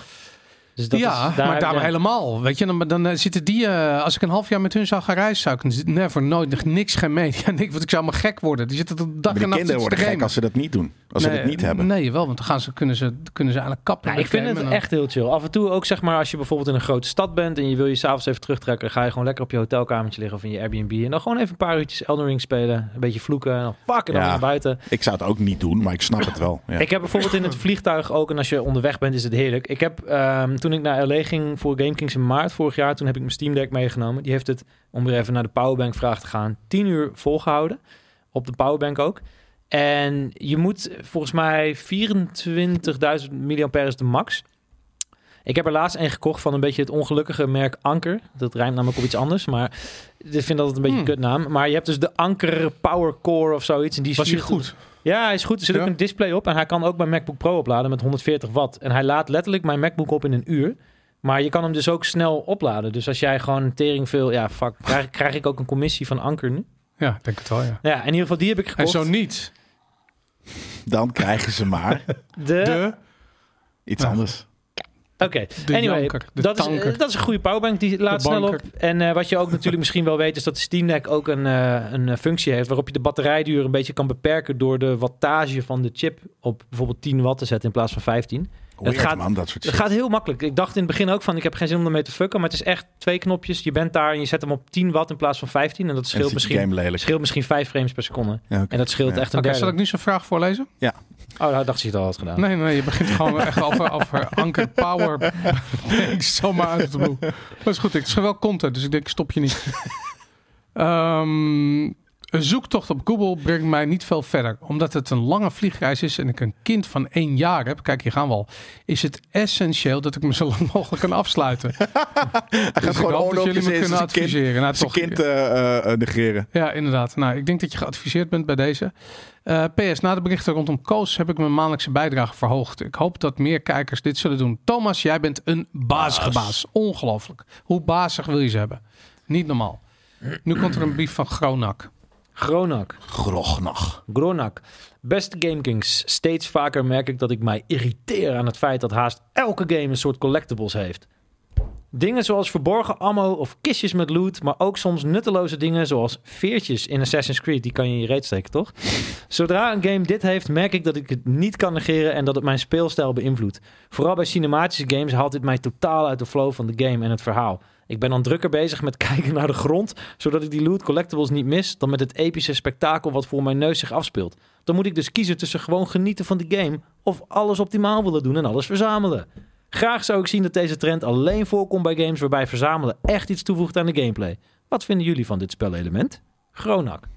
S3: Dus dat
S1: ja,
S3: is, daar
S1: maar
S3: heb-
S1: daarom
S3: ja.
S1: helemaal. Weet je, dan, dan eh, zitten die... eh, als ik een half jaar met hun zou gaan reizen, zou ik never, nooit, nog niks, geen media, niks. Want ik zou maar gek worden. Die zitten tot
S2: Maar
S1: dag
S2: de
S1: en nacht
S2: kinderen
S1: zitten
S2: worden
S1: te
S2: gek
S1: gamen.
S2: als ze dat niet doen. Als ze
S1: Nee,
S2: dat niet hebben.
S1: Nee, wel, want dan gaan ze, kunnen, ze, kunnen ze aan een kapper.
S3: Ja, Nou, ik vind het echt heel chill. Af en toe ook zeg maar als je bijvoorbeeld in een grote stad bent en je wil je s'avonds even terugtrekken, ga je gewoon lekker op je hotelkamertje liggen of in je Airbnb en dan gewoon even een paar uurtjes Elden Ring spelen, een beetje vloeken en dan fuck en dan
S2: Ja.
S3: weer naar buiten.
S2: Ik zou het ook niet doen, maar ik snap het wel. Ja.
S3: Ik heb bijvoorbeeld in het vliegtuig ook en als je onderweg bent is het heerlijk. Ik heb ehm, toen ik naar LA ging voor GameKings in maart vorig jaar, toen heb ik mijn Steam Deck meegenomen. Die heeft het om weer even naar de powerbank vraag te gaan 10 uur volgehouden op de powerbank ook. En je moet volgens mij 24.000 milliampère is de max. Ik heb er laatst een gekocht van een beetje het ongelukkige merk Anker. Dat rijmt namelijk op iets anders, maar ik vind dat een beetje
S1: Hmm.
S3: een kutnaam. Maar je hebt dus de Anker Power Core of zoiets. En die is
S1: Was hij
S3: 4-
S1: goed?
S3: ja, hij is goed. Er zit
S1: Ja.
S3: ook een display op en hij kan ook mijn MacBook Pro opladen met 140 watt. En hij laadt letterlijk mijn MacBook op in een uur. Maar je kan hem dus ook snel opladen. Dus als jij gewoon tering veel... Ja, fuck. Krijg, krijg ik ook een commissie van Anker nu?
S1: Ja, ik denk het wel, ja.
S3: Nou Ja, in ieder geval die heb ik
S1: En
S3: gekocht.
S1: zo niet.
S2: Dan krijgen ze maar
S3: de...
S1: De,
S2: iets
S1: Ja.
S2: anders.
S3: Oké,
S1: de
S3: anyway.
S1: janker, de
S3: dat, is,
S1: tanker.
S3: eh, dat is een goede powerbank, die laat
S1: De
S3: snel op.
S1: banker.
S3: En eh, wat je ook natuurlijk misschien wel weet... is dat de Steam Deck ook een, eh, een eh, functie heeft... waarop je de batterijduur een beetje kan beperken... door de wattage van de chip op bijvoorbeeld 10 watt te zetten... in plaats van 15.
S2: Weird,
S3: gaat-
S2: man, dat soort
S3: Het
S2: shit.
S3: gaat heel makkelijk. Ik dacht in het begin ook van, ik heb geen zin om ermee te fucken. Maar het is echt twee knopjes. Je bent daar en je zet hem op 10 watt in plaats van 15. En dat
S2: En
S3: scheelt,
S2: dan zit je
S3: misschien,
S2: game lelijk.
S3: scheelt misschien 5 frames per seconde.
S2: Ja, oké.
S3: En dat scheelt
S2: Ja.
S3: echt een
S1: Oké,
S3: derde.
S1: zal ik nu zo'n vraag voorlezen?
S3: Oh, daar dacht je het al had gedaan.
S1: Nee, nee, je begint gewoon echt over, over anker power. ik zomaar uit de boel. Dat is goed, ik het is wel content, dus ik denk ik stop je niet. Ehm, een zoektocht op Google brengt mij niet veel verder. Omdat het een lange vliegreis is en ik een kind van één jaar heb. Kijk, hier gaan we al. Is het essentieel dat ik me zo lang mogelijk kan afsluiten. Hij
S2: Hij gaat gewoon
S1: dat
S2: oorlogjes
S1: jullie me
S2: in
S1: kunnen
S2: zijn kind,
S1: adviseren. Nou,
S2: zijn
S1: toch,
S2: kind eh, eh, eh, negeren.
S1: ja, inderdaad. Nou, ik denk dat je geadviseerd bent bij deze. Eh, PS, na de berichten rondom Koos heb ik mijn maandelijkse bijdrage verhoogd. Ik hoop dat meer kijkers dit zullen doen. Thomas, jij bent een bazige baas. Ongelooflijk. Hoe bazig wil je ze hebben? Niet normaal. Nu komt er een brief van Gronak.
S3: Gronak.
S2: Grognag.
S3: Gronak. Beste GameKings, steeds vaker merk ik dat ik mij irriteer aan het feit dat haast elke game een soort collectibles heeft. Dingen zoals verborgen ammo of kistjes met loot, maar ook soms nutteloze dingen zoals veertjes in Assassin's Creed. Die kan je in je reet steken, toch? Zodra een game dit heeft, merk ik dat ik het niet kan negeren en dat het mijn speelstijl beïnvloedt. Vooral bij cinematische games haalt dit mij totaal uit de flow van de game en het verhaal. Ik ben dan drukker bezig met kijken naar de grond, zodat ik die loot collectibles niet mis, dan met het epische spektakel wat voor mijn neus zich afspeelt. Dan moet ik dus kiezen tussen gewoon genieten van de game of alles optimaal willen doen en alles verzamelen. Graag zou ik zien dat deze trend alleen voorkomt bij games waarbij verzamelen echt iets toevoegt aan de gameplay. Wat vinden jullie van dit spelelement? Gronak.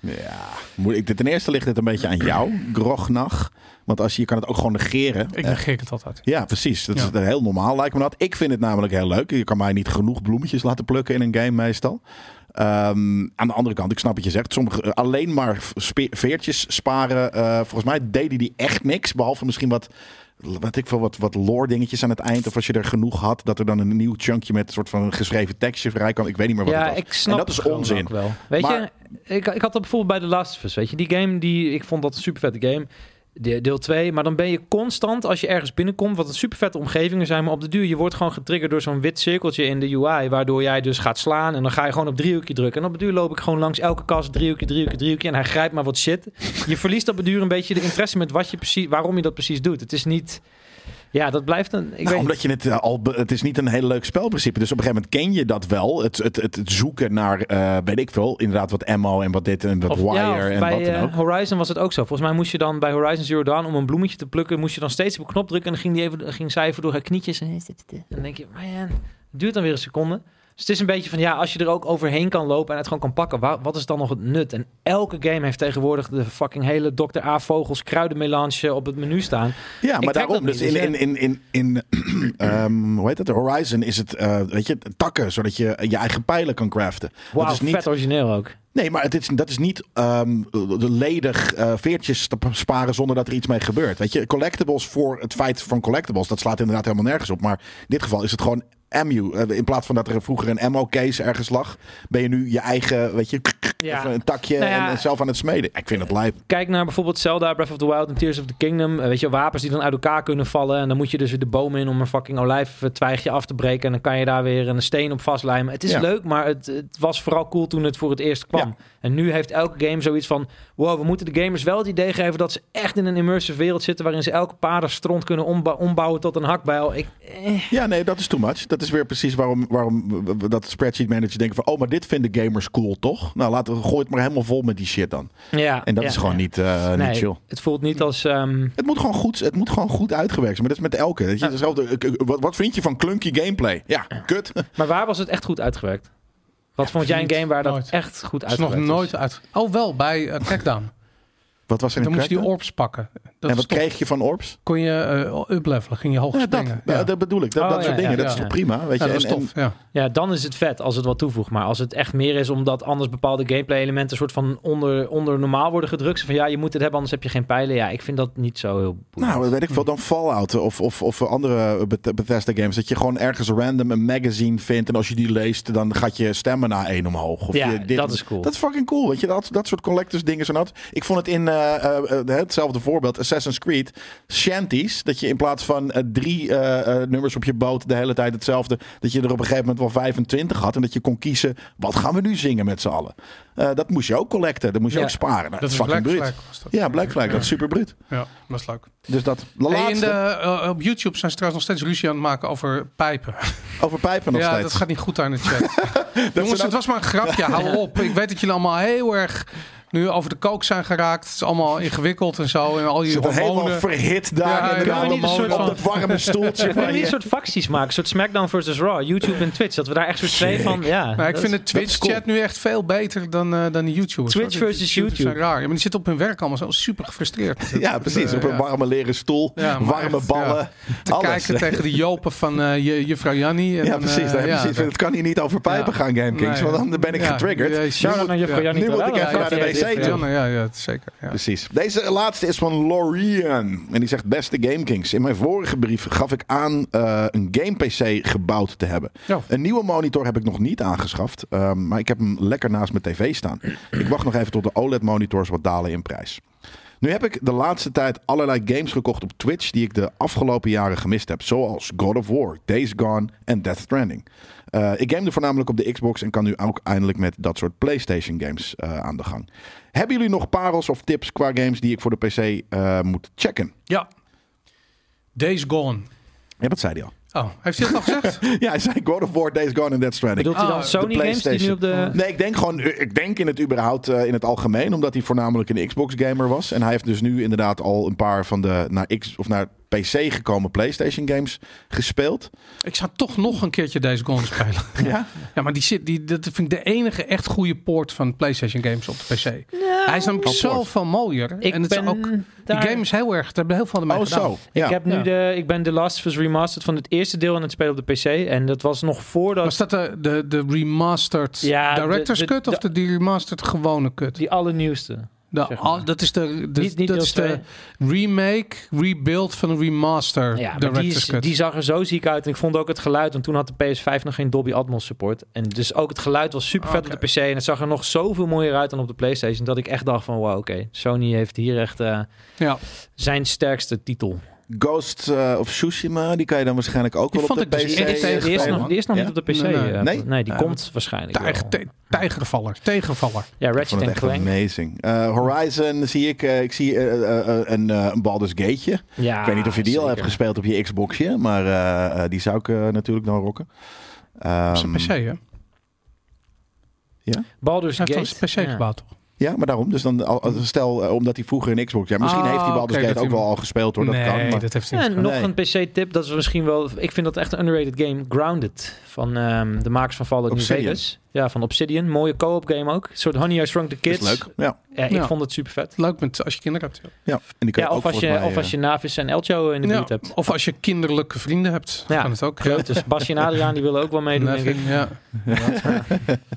S2: Ja. Moet ik, ten eerste ligt het een beetje aan jou, Grognag. Want als je, je kan het ook gewoon negeren.
S1: Ik
S2: Eh,
S1: negeer het altijd.
S2: ja, precies. Dat
S1: Ja.
S2: is heel normaal, lijkt me dat. Ik vind het namelijk heel leuk. Je kan mij niet genoeg bloemetjes laten plukken in een game meestal. Ehm, aan de andere kant, ik snap wat je zegt. Sommige, eh, alleen maar spe- veertjes sparen. eh, volgens mij deden die echt niks. Behalve misschien wat, wat, ik veel, wat, wat lore dingetjes aan het eind. Of als je er genoeg had, dat er dan een nieuw chunkje met een soort van geschreven tekstje vrij kwam. Ik weet niet meer wat het
S3: Ja,
S2: was.
S3: ik snap
S2: en dat is
S3: het gewoon
S2: onzin.
S3: ook wel. Weet
S2: Maar-
S3: je, ik, ik had dat bijvoorbeeld bij The Last of Us. Weet je, die game die ik vond dat een super vette game. De- Deel 2, maar dan ben je constant als je ergens binnenkomt, wat een super vette omgevingen zijn, maar op de duur, je wordt gewoon getriggerd door zo'n wit cirkeltje in de UI, waardoor jij dus gaat slaan en dan ga je gewoon op driehoekje drukken. En op de duur loop ik gewoon langs elke kast, driehoekje, driehoekje, driehoekje en hij grijpt maar wat shit. Je verliest op de duur een beetje de interesse met wat je precies, waarom je dat precies doet. Het is niet, ja, dat blijft een, ik
S2: Nou,
S3: weet
S2: omdat je het eh, al. be- Het is niet een heel leuk spelprincipe. Dus op een gegeven moment ken je dat wel. Het, het, het, het zoeken naar, eh, weet ik veel, inderdaad wat ammo en wat dit en wat wire
S3: ja,
S2: en
S3: bij
S2: wat dan
S3: eh,
S2: ook.
S3: Horizon was het ook zo. Volgens mij moest je dan bij Horizon Zero Dawn om een bloemetje te plukken, moest je dan steeds op een knop drukken en dan ging, die even, ging zij even door haar knietjes. En dan denk je, man, het duurt dan weer een seconde. Dus het is een beetje van, ja, als je er ook overheen kan lopen en het gewoon kan pakken, wa- wat is dan nog het nut? En elke game heeft tegenwoordig de fucking hele Dr. A. Vogels kruidenmelange op het menu staan.
S2: Ja, maar
S3: trek
S2: daarom.
S3: dat niet,
S2: Dus
S3: dus
S2: in, in, in, in, in ehm, hoe heet dat? Horizon is het, eh, weet je, takken, zodat je je eigen pijlen kan craften.
S3: Wauw,
S2: dat is niet,
S3: vet origineel ook.
S2: Nee, maar het is, dat is niet ehm, de ledig eh, veertjes te p- sparen zonder dat er iets mee gebeurt. Weet je, collectibles voor het feit van collectibles, dat slaat inderdaad helemaal nergens op. Maar in dit geval is het gewoon ammo. Eh, In plaats van dat er vroeger een ammo case ergens lag, ben je nu je eigen, weet je,
S3: Ja.
S2: Even een takje
S3: Nou ja.
S2: en, en zelf aan het smeden. Ik vind het lijp.
S3: Kijk naar bijvoorbeeld Zelda, Breath of the Wild en Tears of the Kingdom. Eh, weet je, wapens die dan uit elkaar kunnen vallen. En dan moet je dus weer de bomen in om een fucking olijftwijgje af te breken. En dan kan je daar weer een steen op vastlijmen. Het is
S2: Ja.
S3: leuk, maar het, het was vooral cool toen het voor het eerst kwam. En nu heeft elke game zoiets van... Wow, we moeten de gamers wel het idee geven dat ze echt in een immersive wereld zitten... waarin ze elke paardenstront kunnen omba- ombouwen tot een hakbijl. Ik, eh.
S2: Ja, nee, dat is too much. Dat is weer precies waarom, waarom we- we- dat spreadsheet managers denken van... oh, maar dit vinden gamers cool, toch? Nou, laten we gooi het maar helemaal vol met die shit dan.
S3: ja,
S2: En dat
S3: ja.
S2: is gewoon niet, eh,
S3: Nee,
S2: niet chill.
S3: het voelt niet als... ehm,
S2: Het moet gewoon goed, het moet gewoon goed uitgewerkt zijn. Maar dat is met elke. Weet je, hetzelfde, eh, eh, wat, wat vind je van clunky gameplay? Ja, kut.
S3: maar waar was het echt goed uitgewerkt? Wat vond jij een
S1: niet.
S3: game waar dat
S1: Nooit.
S3: echt goed
S1: is nog
S3: uitgewerkt
S2: dus.
S1: nooit uit. Oh, wel bij eh, Crackdown.
S2: Wat was er in
S1: Dan moest je die
S2: Crackdown?
S1: orbs pakken. Dat
S2: En
S1: is
S2: wat
S1: toch-
S2: kreeg je van orbs?
S1: kon je eh uplevelen, ging je hoog
S2: Ja, dat,
S1: springen.
S2: ja,
S1: ja.
S2: dat bedoel ik. Dat,
S3: Oh,
S2: dat
S3: ja,
S2: soort dingen.
S3: ja,
S2: dat
S1: ja.
S2: is toch prima? Weet
S1: Ja,
S2: je?
S1: dat is
S2: En- en-
S1: tof. Ja.
S3: Ja, dan is het vet als het wat toevoegt. Maar als het echt meer is, omdat anders bepaalde gameplay-elementen soort van onder, onder normaal worden gedrukt. Zo Van ja, je moet het hebben, anders heb je geen pijlen. Ja, ik vind dat niet zo heel. boeiend.
S2: nou, weet ik veel. Dan Fallout of, of, of andere Beth- Bethesda games. Dat je gewoon ergens random een magazine vindt. En als je die leest, dan gaat je stemmen na één omhoog. Of
S3: ja,
S2: je dit-
S3: dat is cool.
S2: Dat is fucking cool, weet je. Dat, dat soort collectors dingen zijn dat. Ik vond het in eh, eh, eh, hetzelfde voorbeeld, Assassin's Creed, shanties. Dat je in plaats van eh, drie eh, eh, nummers op je boot de hele tijd hetzelfde, dat je er op een gegeven moment wel 25 had. En dat je kon kiezen, wat gaan we nu zingen met z'n allen? Eh, dat moest je ook collecten, dat moest je
S3: Ja.
S2: ook sparen. Nou,
S1: Dat
S2: dat
S1: is
S2: is
S1: Black
S2: fucking bruut.
S1: Flag. Was dat.
S2: Ja, Black Flag, dat is super bruut.
S1: Ja, was leuk.
S2: Dus dat, de
S1: Hey, in
S2: laatste,
S1: de, eh, op YouTube zijn ze trouwens nog steeds ruzie aan het maken over pijpen.
S2: over pijpen nog
S1: ja,
S2: steeds.
S1: dat gaat niet goed daar in de chat.
S2: ze
S1: Jongens,
S2: dat-
S1: het was maar een grapje. Hou op. Ik weet dat jullie allemaal heel erg nu over de kook zijn geraakt. Het is allemaal ingewikkeld en zo. En al je
S2: Zit er helemaal
S1: hormonen.
S2: verhit daar
S1: Ja,
S2: in de koude
S1: ja,
S3: ja. Kunnen we niet een
S2: molen, op
S3: soort
S2: dat warme stoeltje.
S3: Kunnen
S2: waar
S3: we
S2: je-
S3: niet een soort facties maken? Een soort SmackDown versus Raw, YouTube en Twitch. Dat we daar echt soort twee van. Ja,
S1: Maar Nou, ik
S3: dat
S1: vind
S3: is-
S1: de Twitch-chat
S2: cool.
S1: nu echt veel beter dan, eh, dan de YouTubers.
S3: Twitch
S1: hoor. Die YouTubers
S3: versus YouTube.
S1: zijn raar. Ja, maar die zitten op hun werk allemaal zo super gefrustreerd.
S2: Ja, precies.
S1: Eh,
S2: Op een
S1: ja.
S2: warme leren stoel,
S1: Ja, maar
S2: warme
S1: echt,
S2: ballen.
S1: Te
S2: alles.
S1: kijken tegen de jopen van eh, je juffrouw Jannie. En,
S2: Ja, precies.
S1: eh,
S2: daar heb je
S1: ja,
S2: zoiets van,
S1: dat-
S2: het kan hier niet over pijpen
S1: Ja.
S2: gaan, GameKings.
S1: Nee.
S2: want dan ben ik
S1: Ja,
S2: getriggerd.
S1: ja,
S3: Shout out
S1: nu
S3: naar
S1: moet-
S3: juffrouw
S1: ja.
S3: Jannie
S2: nu moet ik
S3: Terwijl.
S2: even
S3: Ja,
S2: naar de
S3: die
S2: wc
S3: heeft
S2: Dus- toe.
S3: dit, ja.
S1: Janne, ja, ja, zeker. Ja.
S2: Precies. Deze laatste is van Lorian. En die zegt, beste GameKings, in mijn vorige brief gaf ik aan eh, een game-pc gebouwd te hebben.
S1: Ja.
S2: Een nieuwe monitor heb ik nog niet aangeschaft, ehm, maar ik heb hem lekker naast mijn tv staan. Ik wacht nog even tot de OLED-monitors wat dalen in prijs. Nu heb ik de laatste tijd allerlei games gekocht op Twitch die ik de afgelopen jaren gemist heb. Zoals God of War, Days Gone en Death Stranding. Eh, ik gamede voornamelijk op de Xbox en kan nu ook eindelijk met dat soort PlayStation games eh, aan de gang. Hebben jullie nog parels of tips qua games die ik voor de PC eh, moet checken?
S1: ja. Days Gone.
S2: Ja, dat zei hij al.
S1: Oh, heeft hij dat al gezegd?
S2: Ja, hij zei God of War, Days Gone en Death Stranding.
S3: Bedoelt hij
S1: Ah,
S3: dan
S1: de
S3: Sony games die nu op de.
S2: Nee, ik denk gewoon, ik denk in het überhaupt eh, in het algemeen, omdat hij voornamelijk een Xbox gamer was. En hij heeft dus nu inderdaad al een paar van de naar X of naar PC gekomen PlayStation games gespeeld.
S1: ik zou toch nog een keertje Days Gone spelen.
S2: Ja.
S1: Ja, maar die zit, die, dat vind ik de enige echt goede poort van PlayStation games op de PC. Hij is namelijk
S2: Wel poort.
S1: zoveel mooier.
S3: Ik
S1: en het is
S3: ben
S1: ook, die
S3: daar-
S1: game is heel erg, daar hebben heel veel aan mij
S2: Oh,
S1: gedaan.
S2: zo. Ja.
S3: Ik, heb nu
S1: Ja.
S3: de, ik ben The Last of Us Remastered van het eerste deel aan het spelen op de PC. En dat was nog voordat
S1: Was dat de, de, de remastered
S3: Ja, de-
S1: director's
S3: de-
S1: cut of de, die remastered gewone cut?
S3: die allernieuwste.
S1: De,
S3: zeg maar.
S1: al- dat is de, de,
S3: Niet- niet
S1: Dus dat
S3: deel
S1: is de remake, rebuild van een remaster
S3: Ja, maar die,
S1: director's
S3: is-
S1: cut.
S3: die zag er zo ziek uit. En ik vond ook het geluid. Want toen had de PS5 nog geen Dolby Atmos support. En dus ook het geluid was super vet op de PC. En het zag er nog zoveel mooier uit dan op de PlayStation. Dat ik echt dacht van wow, oké. Sony heeft hier echt eh,
S1: ja.
S3: zijn sterkste titel.
S2: Ghost eh, of Tsushima, die kan je dan waarschijnlijk ook
S1: Die
S2: wel
S1: vond
S2: op de
S1: ik
S2: PC
S1: dus
S3: Die
S1: echt
S3: is,
S2: spelen.
S1: tegen-
S3: die is nog, die is nog
S2: Ja?
S3: niet op de PC.
S1: Nee, nee.
S3: eh,
S2: Nee?
S3: die
S1: Ja,
S3: komt waarschijnlijk wel.
S1: Tijger, te- tijgervaller, tegenvaller.
S3: Ja,
S2: Ik vond
S3: Ratchet
S2: het
S3: en
S2: echt
S3: Clank.
S2: amazing. Eh, Horizon zie ik. eh, ik zie eh, eh, eh, een, eh, een Baldur's Gateje.
S3: Ja,
S2: ik weet niet of je die al
S3: Ah, zeker.
S2: hebt gespeeld op je Xboxje. Maar eh, eh, die zou ik eh, natuurlijk dan rocken.
S1: op zijn
S2: Ehm,
S1: PC, hè? Hij
S3: Baldur's
S1: heeft
S3: Gate.
S1: dan zijn PC
S3: Dus Ja.
S1: gebouwd, toch?
S2: Ja, maar daarom. Dus dan, al- als- stel, eh, omdat hij vroeger een Xbox... Ja, misschien
S1: Ah,
S2: heeft hij Baldur's
S1: oké,
S2: Gate
S1: dat
S2: ook
S1: hij-
S2: wel al gespeeld, hoor.
S1: nee,
S2: dat kan. Maar,
S1: dat heeft hij niet
S3: En
S1: gedaan.
S3: nog
S2: Nee.
S3: een PC-tip, dat is misschien wel... Ik vind dat echt een underrated game. Grounded, van ehm, de makers van Fallout New
S2: Obsidian.
S3: Vegas. Ja, van Obsidian. Mooie co-op game ook. Een soort Honey, I Shrunk the Kids.
S2: is leuk. Ja,
S3: Ja, ik
S1: Ja.
S3: vond het super vet.
S1: Leuk met, als je kinderen hebt. ja.
S2: ja. En die kan
S3: Ja,
S2: ook
S3: of als, je,
S2: volgens mij,
S3: of als
S2: eh,
S3: je Navis en Elcho in de
S1: Ja,
S3: buurt hebt.
S1: Of als je kinderlijke vrienden hebt,
S3: Ja.
S1: kan het ook.
S3: Groot, dus Basje en Adriaan die willen ook wel meedoen, denk ik.
S1: Nevin, ja.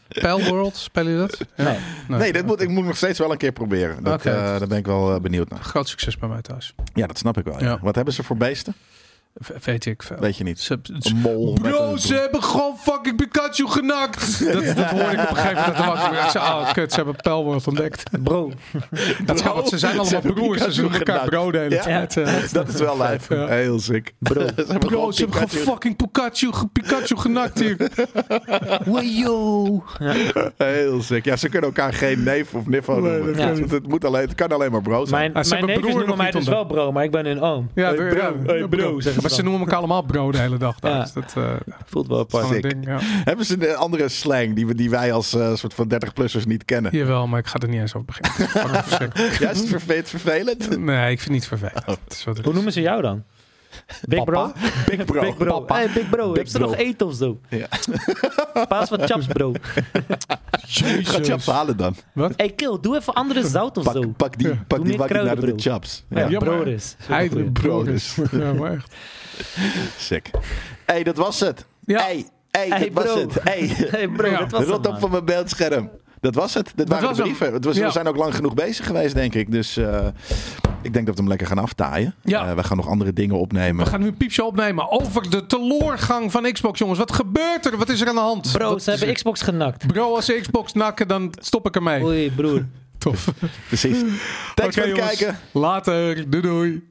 S2: eh,
S1: Palworld, spelen jullie dat? Ja.
S3: Nee.
S2: Nee, dit moet, ik moet nog steeds wel een keer proberen. Dat,
S1: Oké.
S2: eh, daar ben ik wel eh, benieuwd naar.
S1: Groot succes bij mij thuis.
S2: Ja, dat snap ik wel. ja.
S1: Ja.
S2: Wat hebben ze voor beesten?
S7: V- weet ik veel.
S2: Weet je niet.
S7: Ze- ze-
S2: Een mol. met
S1: Bro,
S2: een-
S1: ze hebben gewoon fucking Pikachu genakt. Dat, dat hoorde ik op een gegeven moment. aan de wacht. Ik zei, oh kut, ze hebben Pelworth ontdekt.
S3: Bro.
S1: Dat is wel, want ze zijn allemaal
S2: hebben
S1: broers. Ze
S2: Pikachu
S1: doen elkaar
S2: genakt.
S1: brood de hele
S2: Ja.
S1: tijd. eh.
S2: Dat is wel live.
S1: Ja.
S2: Heel sick. Bro, ze hebben
S1: Bro,
S2: gewoon
S1: ze hebben
S2: Pikachu-
S1: gewoon fucking Pikachu, ge- Pikachu genakt hier.
S7: Wajo.
S2: Heel sick. Ja, ze kunnen elkaar geen neef of niffo noemen.
S3: kan
S2: Het- Het, moet alleen, het kan alleen maar bro zijn.
S3: Mijn,
S1: Ah, ze
S3: mijn
S1: hebben
S3: neefjes
S1: broer
S3: noemen
S1: nog
S3: mij
S1: niet
S3: dus wel bro, maar ik ben hun oom.
S1: Ja,
S3: Hey,
S1: de- ja,
S3: bro, hey, bro, zeggen ze
S1: Maar ze
S3: dan.
S1: noemen elkaar allemaal bro de hele dag. daar.
S3: Ja.
S1: Dus dat eh, dat
S3: Voelt wel
S1: is gewoon een
S2: Sick.
S1: ding. Ja.
S2: Hebben ze een andere slang die, we- die wij als eh, soort van 30-plussers niet kennen?
S1: Jawel, maar ik ga er niet eens over beginnen. Het is fucking verschrikkelijk.
S2: Ja, is het verve- het vervelend?
S1: Nee, ik vind het niet vervelend. Het is wat het
S3: Oh. Hoe
S1: is.
S3: noemen ze jou dan? Big
S1: Papa?
S3: bro?
S2: Big bro.
S3: Big bro.
S1: Papa.
S3: Hey, big bro. Heb ze
S2: bro.
S3: nog eten of zo?
S2: Ja.
S3: Paas wat chaps bro.
S2: Gaat chaps halen dan.
S8: Hey kill, doe even andere zout of zo.
S2: Pak, pak die, pak
S8: Doe
S2: die
S8: meer
S2: wakkie naar de
S8: kruidenbrood.
S2: chaps.
S3: Ja,
S1: Ja, maar-
S3: broer is.
S1: Hij
S3: Supergoeie.
S1: bro dus. Ja, maar echt.
S2: Sick. hey, dat was het.
S1: Ja.
S2: hey, hey,
S8: Hey,
S2: dat was
S8: bro.
S2: het. Hey.
S8: Hey bro,
S1: Ja.
S8: dat was
S2: Rot
S8: het,
S2: op
S8: man.
S2: van mijn beeldscherm. Dat was het. Dat, waren
S1: was
S2: de
S1: hem.
S2: brieven. Het was,
S1: Ja.
S2: We zijn ook lang genoeg bezig geweest, denk ik. Dus eh, ik denk dat we hem lekker gaan aftaaien.
S1: Ja.
S2: Eh, we gaan nog andere dingen opnemen.
S1: We gaan nu een piepje opnemen over de teleurgang van Xbox, jongens. Wat gebeurt er? Wat is er aan de hand?
S3: Bro,
S1: Wat
S3: ze
S1: is
S3: hebben
S1: er?
S3: Xbox genakt.
S1: Bro, als ze Xbox nakken, dan stop ik ermee.
S3: Oei, broer.
S1: Tof.
S2: Precies. Thanks
S1: Oké,
S2: voor het
S1: jongens.
S2: kijken.
S1: Later. Doei doei.